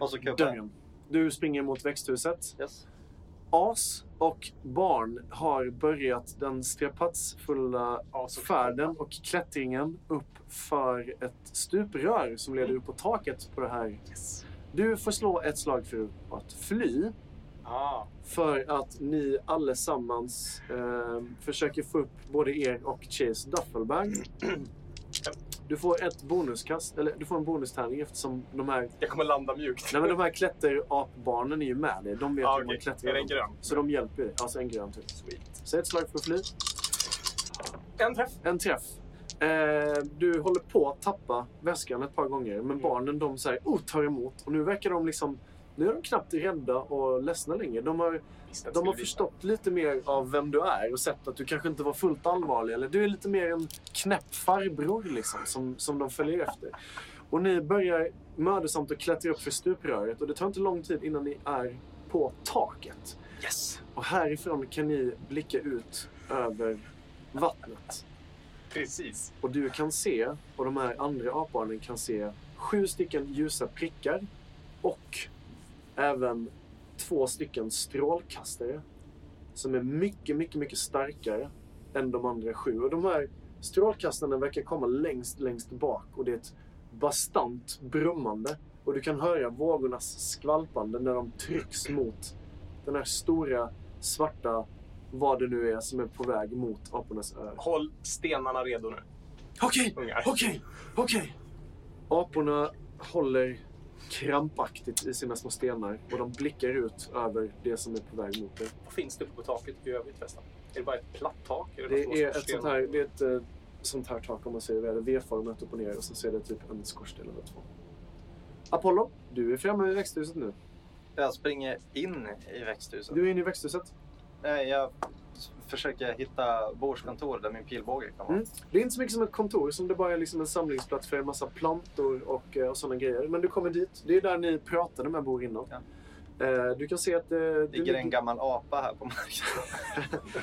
Och så kuppar jag.
dörren. Du springer mot växthuset.
Yes.
As och barn har börjat den strapatsfulla färden och klättringen upp för ett stuprör som leder upp på taket på det här. Du får slå ett slag för att fly.
Ah,
För att ni allesammans eh, försöker få upp både er och Chase Duffelbag. Du får ett bonuskast, eller du får en bonustärning eftersom de här,
Jag kommer landa mjukt.
nej men de här klätterapbarnen är typ ju med dig. De vet
Ja,
hur man
okej.
klättrar.
Är det en grön?
Så de hjälper dig. Alltså en grön typ. Så ett slag för att fly.
En träff.
En träff. Eh, du håller på att tappa väskan ett par gånger, men barnen de säger oh, tar emot. Och nu verkar de liksom, nu är de knappt rädda och ledsna längre. De har
Visst, den
de har
skulle
förstått lite mer av vem du är och sett att du kanske inte var fullt allvarlig. Eller du är lite mer en knäpp farbror liksom, som, som de följer efter. Och ni börjar mödosamt att klättra upp för stupröret och det tar inte lång tid innan ni är på taket.
vinna. Yes!
Och härifrån kan ni blicka ut över vattnet.
Precis.
Och du kan se, och de här andra apbarnen kan se, sju stycken ljusa prickar och även två stycken strålkastare som är mycket, mycket, mycket starkare än de andra sju. Och de här strålkastarna verkar komma längst, längst bak och det är ett bastant brummande och du kan höra vågornas skvalpande när de trycks mot den här stora svarta, vad det nu är, som är på väg mot apornas ö.
Håll stenarna redo nu,
Okej,
ungar.
Okej, okej. Aporna håller krampaktigt i sina små stenar och de blickar ut över det som är på väg mot dig.
Vad finns det uppe på taket i övrigt förresten? Är det bara ett platt tak?
Det
Är några små
är ett
skorstenar?
sånt här, det är ett eh, sånt här tak om man säger det, V-format upp och ner och så ser det typ en skorsten eller två. Apollo, du är framme i växthuset nu.
jag springer in i växthuset.
Du är inne i växthuset.
Nej, jag s- försöker hitta Bårds kontor där min pilbåge kan vara.
Mm. Det är inte så mycket som ett kontor som det bara är liksom en samlingsplats för en massa plantor och, eh, och sådana grejer. Men du kommer dit. Det är där ni pratade med Bor innan.
Ja.
Eh, Du kan se att... eh, Det
Ligger en gammal apa här på marken.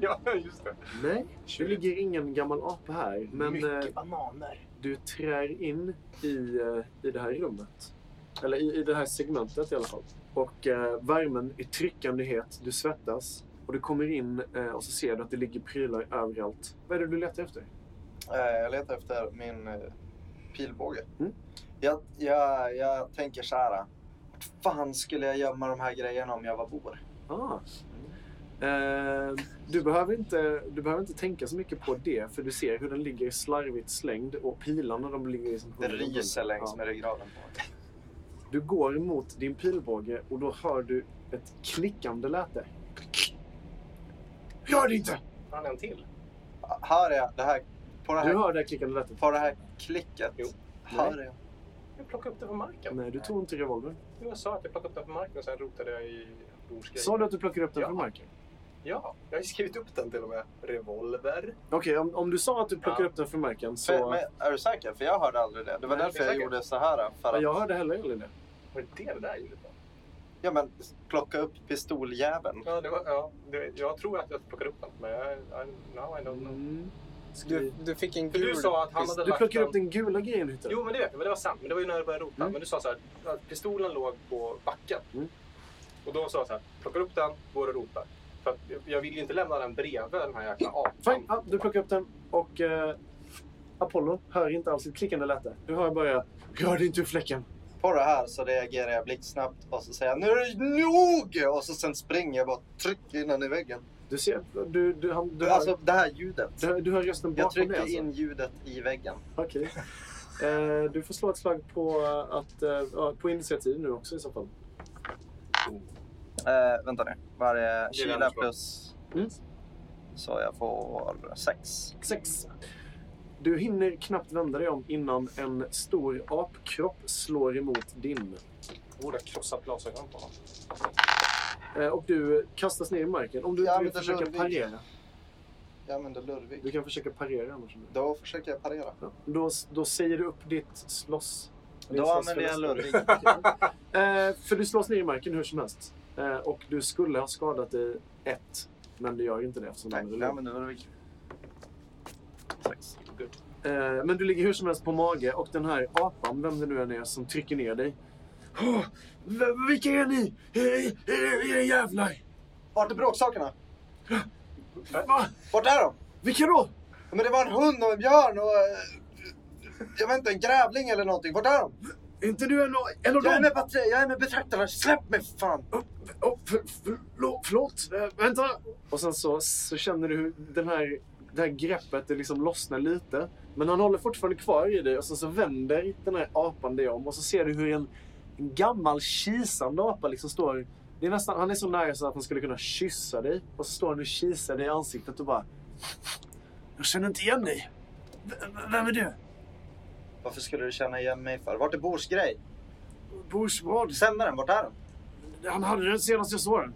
ja, just det.
Nej, det ligger ingen gammal apa här. Men eh,
bananer.
du trär in i, eh, i det här rummet. Eller i, i det här segmentet i alla fall. Och eh, värmen är tryckande het, du svettas. Och du kommer in eh, och så ser du att det ligger prylar överallt. Vad är det du letar efter?
Eh, Jag letar efter min eh, pilbåge.
Mm.
Jag, jag, jag tänker så här. Vart fan skulle jag gömma de här grejerna om jag var bor?
Ah. Eh, du, behöver inte, du behöver inte tänka så mycket på det, för du ser hur den ligger slarvigt slängd och pilarna de ligger i som
Det
hundar.
ryser längs
Ja.
med ryggraden på mig.
Du går emot din pilbåge och då hör du ett klickande läte. Gör det inte!
Har han en till?
Hör jag det här? På det
Du
här,
hör det här klickande lätet.
på det här klicket?
Jo.
Hör jag?
Jag plockade upp den från marken.
Nej, du tog inte revolvern.
Jo, Jag sa att jag plockade upp den från marken och sen rotade jag i Brors grejer.
Sa du att du plockade upp den
Ja.
från marken?
Ja, jag har ju skrivit upp den till och med. Revolver.
Okej, om, om du sa att du plockade
Ja.
upp den från marken så...
Men, men, är du säker? För jag hörde aldrig det. Det var
Nej,
därför
jag är
jag
säker.
gjorde så här. För
Ja,
att,
jag hörde heller aldrig det.
Var det det det där ljudet var?
ja, men, plocka upp pistoljäveln.
Ja, det var, ja det, jag tror att jag plockade upp den. Men jag, I, now I don't know.
Mm.
Du,
Skriv.
du fick en
För
gul...
du sa att han hade
Du
lagt
plockade upp den gula grejen du hittade.
Jo, men det vet jag. Men det var sant. Men det var ju när jag började rota.
Mm.
Men du sa så här, att pistolen låg på backen.
Mm.
Och då sa jag så här, plockar upp den, går och rotar. För att jag- jag vill ju inte lämna den bredvid den här jäkla
Fine.
apan.
Ja, du plockar upp den och eh, Apollo hör inte alls ett klickande läte. Du hör bara Rör dig inte ur fläcken.
På det här så reagerar jag blixtsnabbt och så säger jag nu är det nog! Och så sen springer jag bara trycker in den i väggen.
Du ser, du, du, han, du, hör,
Alltså det här ljudet.
du, hör- du hör rösten
Jag
bakom dig
trycker
alltså?
in ljudet i väggen.
Okej. Eh, du får slå ett slag på, att, eh, ja, på initiativ nu också i så fall.
Eh, vänta nu. Varje
Det är
kyla
den slår.
plus...
Mm.
Så jag får sex.
Sex. Du hinner knappt vända dig om innan en stor apkropp slår emot din.
Jag borde ha krossat glasögonen på honom.
Eh, och du kastas ner i marken. Om du
Ja,
inte
men
vill
det
försöka
rör vi.
parera.
Jag använder
Du
Lurvig.
kan försöka parera annars. om du-
Då försöker jag parera.
Ja. Då, då säger du upp ditt slåss.
Då använder jag Lurvig.
Eh, för du slås ner i marken hur som helst. Eh, och du skulle ha skadat dig ett, men du gör inte det eftersom
Nej,
den är
nej,
låg.
men nu är det viktigt.
Eh, men du ligger hur som helst på mage och den här apan, vem det nu än är, som trycker ner dig. Åh, v- vilka är ni? Eh, Era era jävlar!
Vart är bråksakerna?
Va?
Vart är de?
Vilka då?
Ja, Men det var en hund och en björn och... eh, Jag vet inte, en grävling eller någonting. Vart är de?
Är inte du en, av- en av
Jag är
dem?
med, patr- jag är med betraktarna. Släpp mig för fan!
Oh, för, förlåt, förlåt. Eh, vänta! Och sen så, så känner du hur den här, det här greppet det liksom lossnar lite. Men han håller fortfarande kvar i dig och sen så vänder den här apan dig om och så ser du hur en, en gammal kisande apa liksom står... Det är nästan, han är så nära så att han skulle kunna kyssa dig och så står han och kisar dig i ansiktet och bara... Jag känner inte igen dig. V- vem är du?
Varför skulle du känna igen mig för? Vart är Bors grej?
Borsvard.
Sändaren, vart är den?
Han hade den senast jag såg den.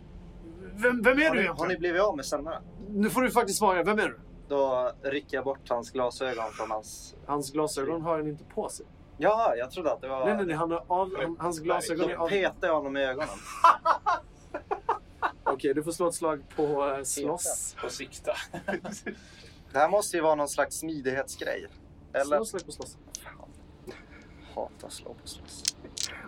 Vem, vem är du
Har ni, har ni
egentligen?
blivit av med sändaren?
Nu får du faktiskt svara. Vem är du?
Då rycker jag bort hans glasögon från hans...
Hans glasögon har han inte på sig.
Ja, jag trodde att det var...
Nej, nej, nej. Han har av, han, hans glasögon är
Då
av.
petar jag honom i ögonen.
Okej, du får slå ett slag på eh, slåss.
Och sikta.
Det här måste ju vara någon slags smidighetsgrej. Eller?
Slå ett slag på slåss.
Hata slå på slåss.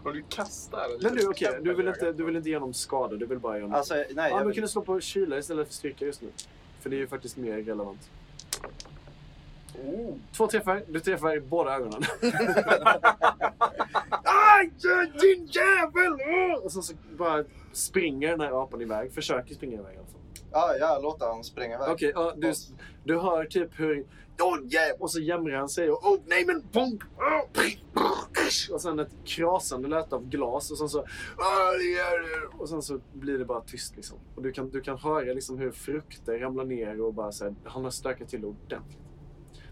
Och du kastar. en
Men du,
liten
okej.
kniv
du,
i
vill
ögat.
inte, du vill inte ge honom skada. Du vill bara ge honom...
Alltså, nej.
Ja,
Jag
men
vill...
kan du slå på kyla istället för styrka just nu? För det är ju faktiskt mer relevant.
Oh.
Två träffar. Du träffar i båda ögonen. Aj, din jävel! Och sen så bara springer den här apan iväg. Försöker springa iväg i alla fall.
Ja, jag låter honom springa iväg.
Okej, ja, du, du hör typ hur... Åh, jäv! Och så jämrar han sig och... Åh, nej men! Bonk! Åh, prr, prr, äsch! Och sen ett krasande läte av glas och sen så... "Åh, det gör det." Och sen så blir det bara tyst liksom. Och du kan, du kan höra liksom hur frukter ramlar ner och bara så här, Han har stökat till ordentligt.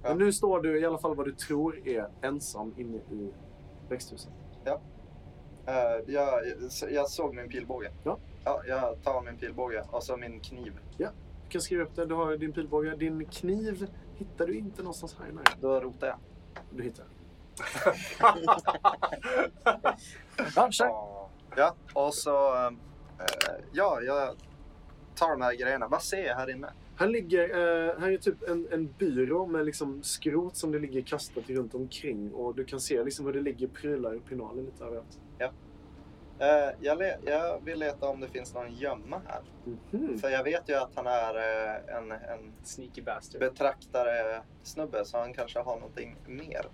Ja.
Men nu står du i alla fall vad du tror är ensam inne i växthuset.
Eh, jag, jag såg min pilbåge.
Ja.
ja. Jag tar min pilbåge och så min kniv.
Du kan skriva upp det. Du har din pilbåge. Din kniv hittar du inte någonstans här i närheten.
Då rotar jag.
Du hittar den. ja, kör.
Ja. Ja, och så... eh, ja, jag tar de här grejerna. Vad ser jag här inne?
Här ligger, eh, här är typ en, en byrå med liksom skrot som det ligger kastat runt omkring och du kan se liksom hur det ligger prylar och pinaler lite överallt.
Eh, jag, le- jag vill leta om det finns någon gömma här.
Mhm.
För jag vet ju att han är eh, en, en
Mm. Sneaky bastard.
betraktare-snubbe så han kanske har någonting mer.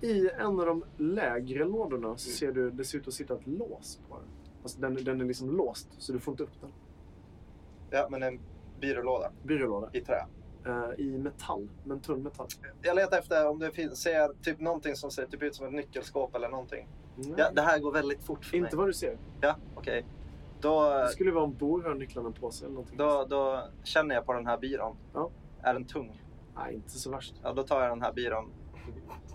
I en av de lägre lådorna så ser du dessutom sitta ett lås på den. Alltså den, den är liksom låst så du får inte upp den.
Ja, men en byrålåda
Byrålåda.
i trä.
Eh, I metall, men tunn metall.
Jag letar efter om det finns, ser typ någonting som ser typ ut som ett nyckelskåp eller någonting.
Nej.
Ja, det här går väldigt fort för
inte
mig.
vad du ser.
Ja, okej. Då,
Det skulle vara om Bo har nycklarna på sig eller någonting.
då, då känner jag på den här byrån.
Ja.
Är den tung?
Nej, inte så värst.
Ja, då tar jag den här byrån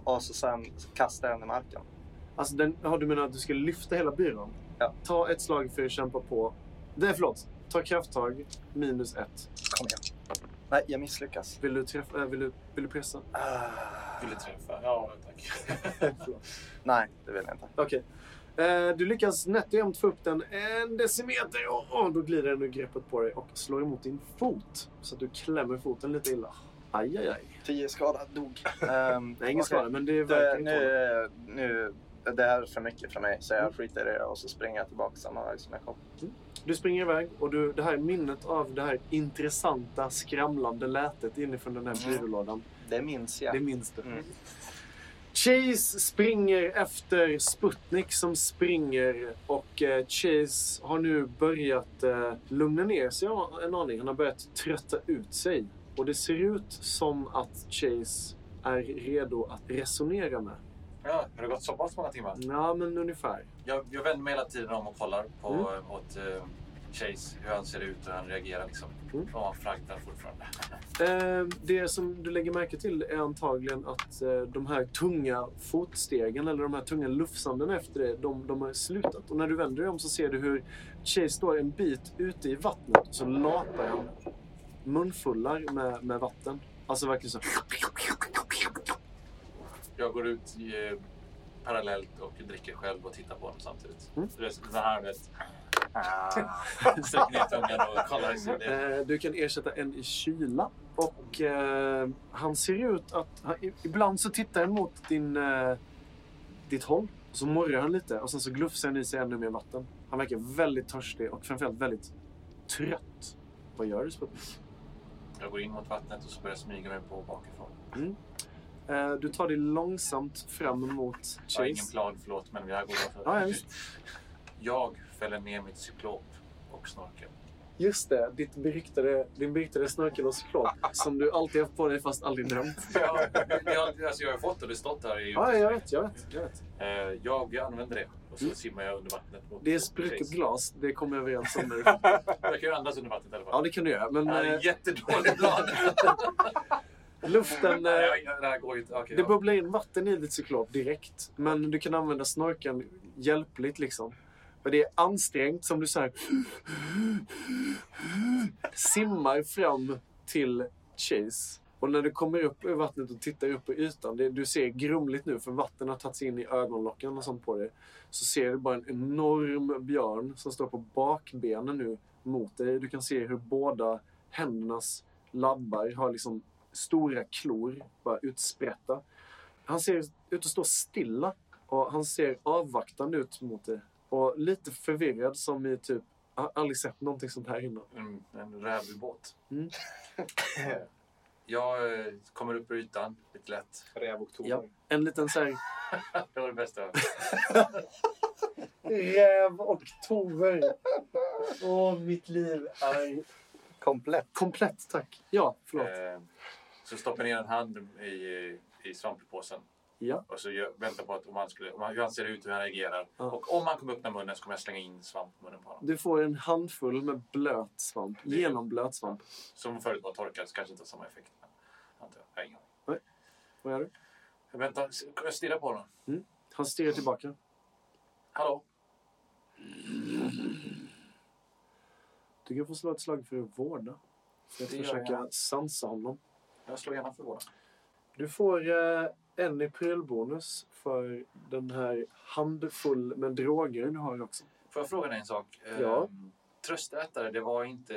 och så sen kastar jag den i marken.
Alltså den, har du menat att du ska lyfta hela byrån?
Ja.
Ta ett slag för att kämpa på. Nej, förlåt. Ta krafttag, minus ett.
Kom igen. Nej, jag misslyckas.
Vill du, träffa, äh, vill du, vill du pressa?
Ah,
Vill du träffa? Ja, tack.
nej, det vill jag inte.
Okej. Eh, du lyckas nätt och jämnt få upp den en decimeter. Och, och då glider den ur greppet på dig och slår emot din fot. Så att du klämmer foten lite illa. Aj, aj, aj.
Tio skada, dog. Ehm,
Nej, ingen
okej.
skada, men det
Det,
verkar
nu,
inte
nu, det här är för mycket för mig så
Mm.
jag skiter i det och så springer jag tillbaka samma väg som jag kom.
Du springer iväg och du, det här minnet av det här intressanta skramlande lätet inifrån den här
Mm.
byrålådan.
Det minns jag.
Det minns du.
Mm.
Chase springer efter Sputnik som springer och eh, Chase har nu börjat eh, lugna ner sig en aning. Han har börjat trötta ut sig och det ser ut som att Chase är redo att resonera med.
Ja, har det gått så pass många timmar?
Ja, men ungefär.
Jag, jag vänder mig hela tiden om och kollar på
Mm.
eh, åt eh, Chase, hur han ser ut och hur han reagerar. Liksom.
Mm.
Och han flaggnar fortfarande.
Eh, det som du lägger märke till är antagligen att eh, de här tunga fotstegen eller de här tunga lufsandena efter dig, de, de har slutat. Och när du vänder dig om så ser du hur Chase står en bit ute i vattnet och så lapar han munfullar med, med vatten. Alltså verkligen så.
Jag går ut eh, parallellt och dricker själv och tittar på honom samtidigt.
Mm. Ah.
Mm. Den här med Sträcker ner tungan och kollar i sin del.
Eh, du kan ersätta en i kyla. Och eh, han ser ut att... Han, i- ibland så tittar han mot din, eh, ditt håll. Och så morrar han lite och sen så glufsar han i sig ännu mer vatten. Han verkar väldigt törstig och framförallt väldigt trött. Vad gör du, Sputnik?
Jag går in mot vattnet och så börjar jag smyga mig på bakifrån.
Eh, du tar dig långsamt fram mot
Jag har ingen
Chase.
plan, förlåt, men jag går bara för
Ja, ja, visst.
Jag fäller ner mitt cyklop och snorkel.
Just det, ditt beryktade, din beryktade snorkelosklop som du alltid haft på dig fast aldrig drömt.
Jag, jag, alltså jag har fått och det stått här i
Ja, jag vet, jag vet, jag vet.
Eh, jag, jag använder det och så
Mm.
simmar jag under vattnet. Mot
Det är
mot
sprucket
Chase.
glas, det kommer jag överens om nu.
Jag kan ju andas under vattnet i alla
Ja,
fall.
det kan du göra. Men
det här är
eh,
en jättedålig plan.
luften... Eh,
Nej, jag- jag- det här går ju inte. Okej,
Det
ja.
bubblar in vatten i ditt cyklop direkt. Men du kan använda snorkeln hjälpligt liksom. Och det är ansträngt som du så här simmar fram till Chase. Och när du kommer upp ur vattnet och tittar upp på ytan, det, du ser grumligt nu för vatten har tagit sig in i ögonlocken och sånt på dig. Så ser du bara en enorm björn som står på bakbenen nu mot dig. Du kan se hur båda händernas labbar har liksom stora klor bara utsprätta. Han ser ut att stå stilla och han ser avvaktande ut mot dig. Och lite förvirrad som i typ, jag har aldrig sett någonting sånt här innan.
en, en rävubåt.
Mm.
jag eh, kommer upp ur ytan lite lätt.
Räv och tor.
Ja. En liten så här
Det var det bästa.
räv och tover. Åh, mitt liv är...
Komplett.
Komplett, tack. Ja, förlåt.
Eh, så stoppar jag ner en hand i, i svamppåsen.
Ja.
Och så gör, väntar på att om han skulle, om han, hur han ser ut, hur han reagerar.
Ja.
Och om han kommer öppna munnen så kommer jag slänga in svamp på munnen på honom.
Du får en handfull med blöt svamp.
Det-
Genomblöt svamp.
Som förut var torkad så kanske inte har samma effekt. Men, antar jag. jag. har ingen aning.
Vad gör du?
Jag väntar, s- jag stirrar på honom.
Han stirrar tillbaka.
Hallå?
Du kan få slå ett slag för att vårda. För att
Det gör
försöka
jag.
sansa honom.
Jag slår gärna för våran.
Du får eh, en i prylbonus för den här handfull med droger du har också.
Får jag fråga dig en sak? Eh,
Ja.
Tröstätare, det var, inte,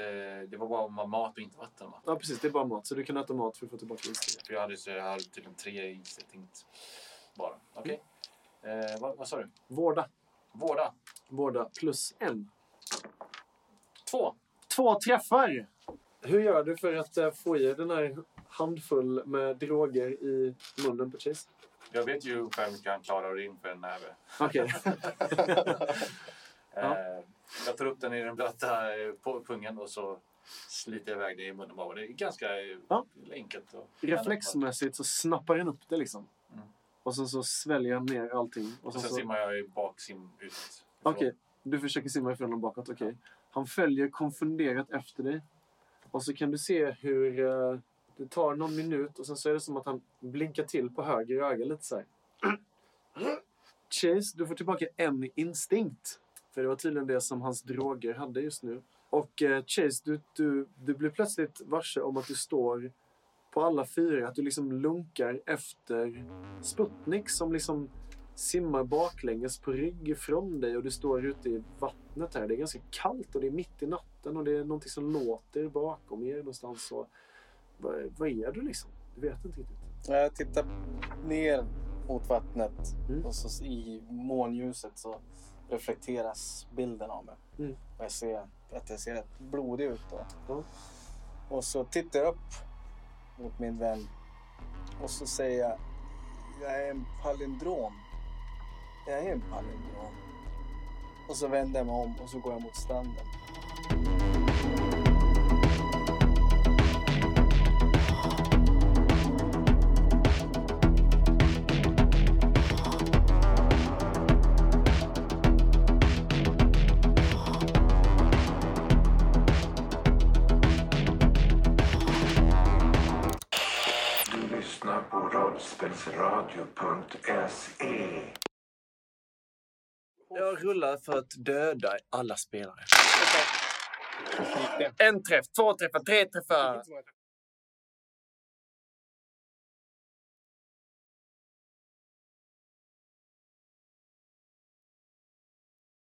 det var bara mat och inte vatten va?
Ja, precis. Det är bara mat, så du kan äta mat för att få tillbaka inställningen.
För jag hade, så jag hade tydligen tre instinkt bara. Okej.
Mm.
Eh, vad, vad sa du?
Vårda.
Vårda.
Vårda plus en.
Två.
Två träffar! Hur gör du för att eh, få i den här handfull med droger i munnen på Chase?
Jag vet ju ungefär hur mycket han klarar in för en näve.
Okej.
Eh, jag tar upp den i den blöta eh, på pungen och så sliter jag iväg det i munnen bara. Det är ganska eh,
Ja.
enkelt. Och
Reflexmässigt så snappar han upp det liksom.
Mm.
Och sen så sväljer han ner allting. Och
Och
sen
sen
så...
simmar jag i baksim ut. ifrån.
Okej, du försöker simma ifrån honom bakåt. Okej. Han följer konfunderat efter dig. Och så kan du se hur eh, det tar någon minut och sen så är det som att han blinkar till på höger öga lite så här. Chase, du får tillbaka en instinkt. För det var tydligen det som hans droger hade just nu. Och eh, Chase, du, du, du blir plötsligt varse om att du står på alla fyra. Att du liksom lunkar efter Sputnik som liksom simmar baklänges på rygg ifrån dig och du står ute i vattnet här. Det är ganska kallt och det är mitt i natten och det är någonting som låter bakom er någonstans. Och vad, vad är du liksom? Du vet inte riktigt.
Jag tittar Eh, ner mot vattnet
Mm.
och så i månljuset så reflekteras bilden av mig.
Mm.
Och jag ser att jag ser rätt blodig ut då.
Ja.
Och så tittar jag upp mot min vän och så säger jag, jag är en palindrom. Jag är en palindrom. Och så vänder jag mig om och så går jag mot stranden.
Du lyssnar på rollspelsradio.se.
Jag rullar för att döda alla spelare. En träff, två träffar, tre träffar.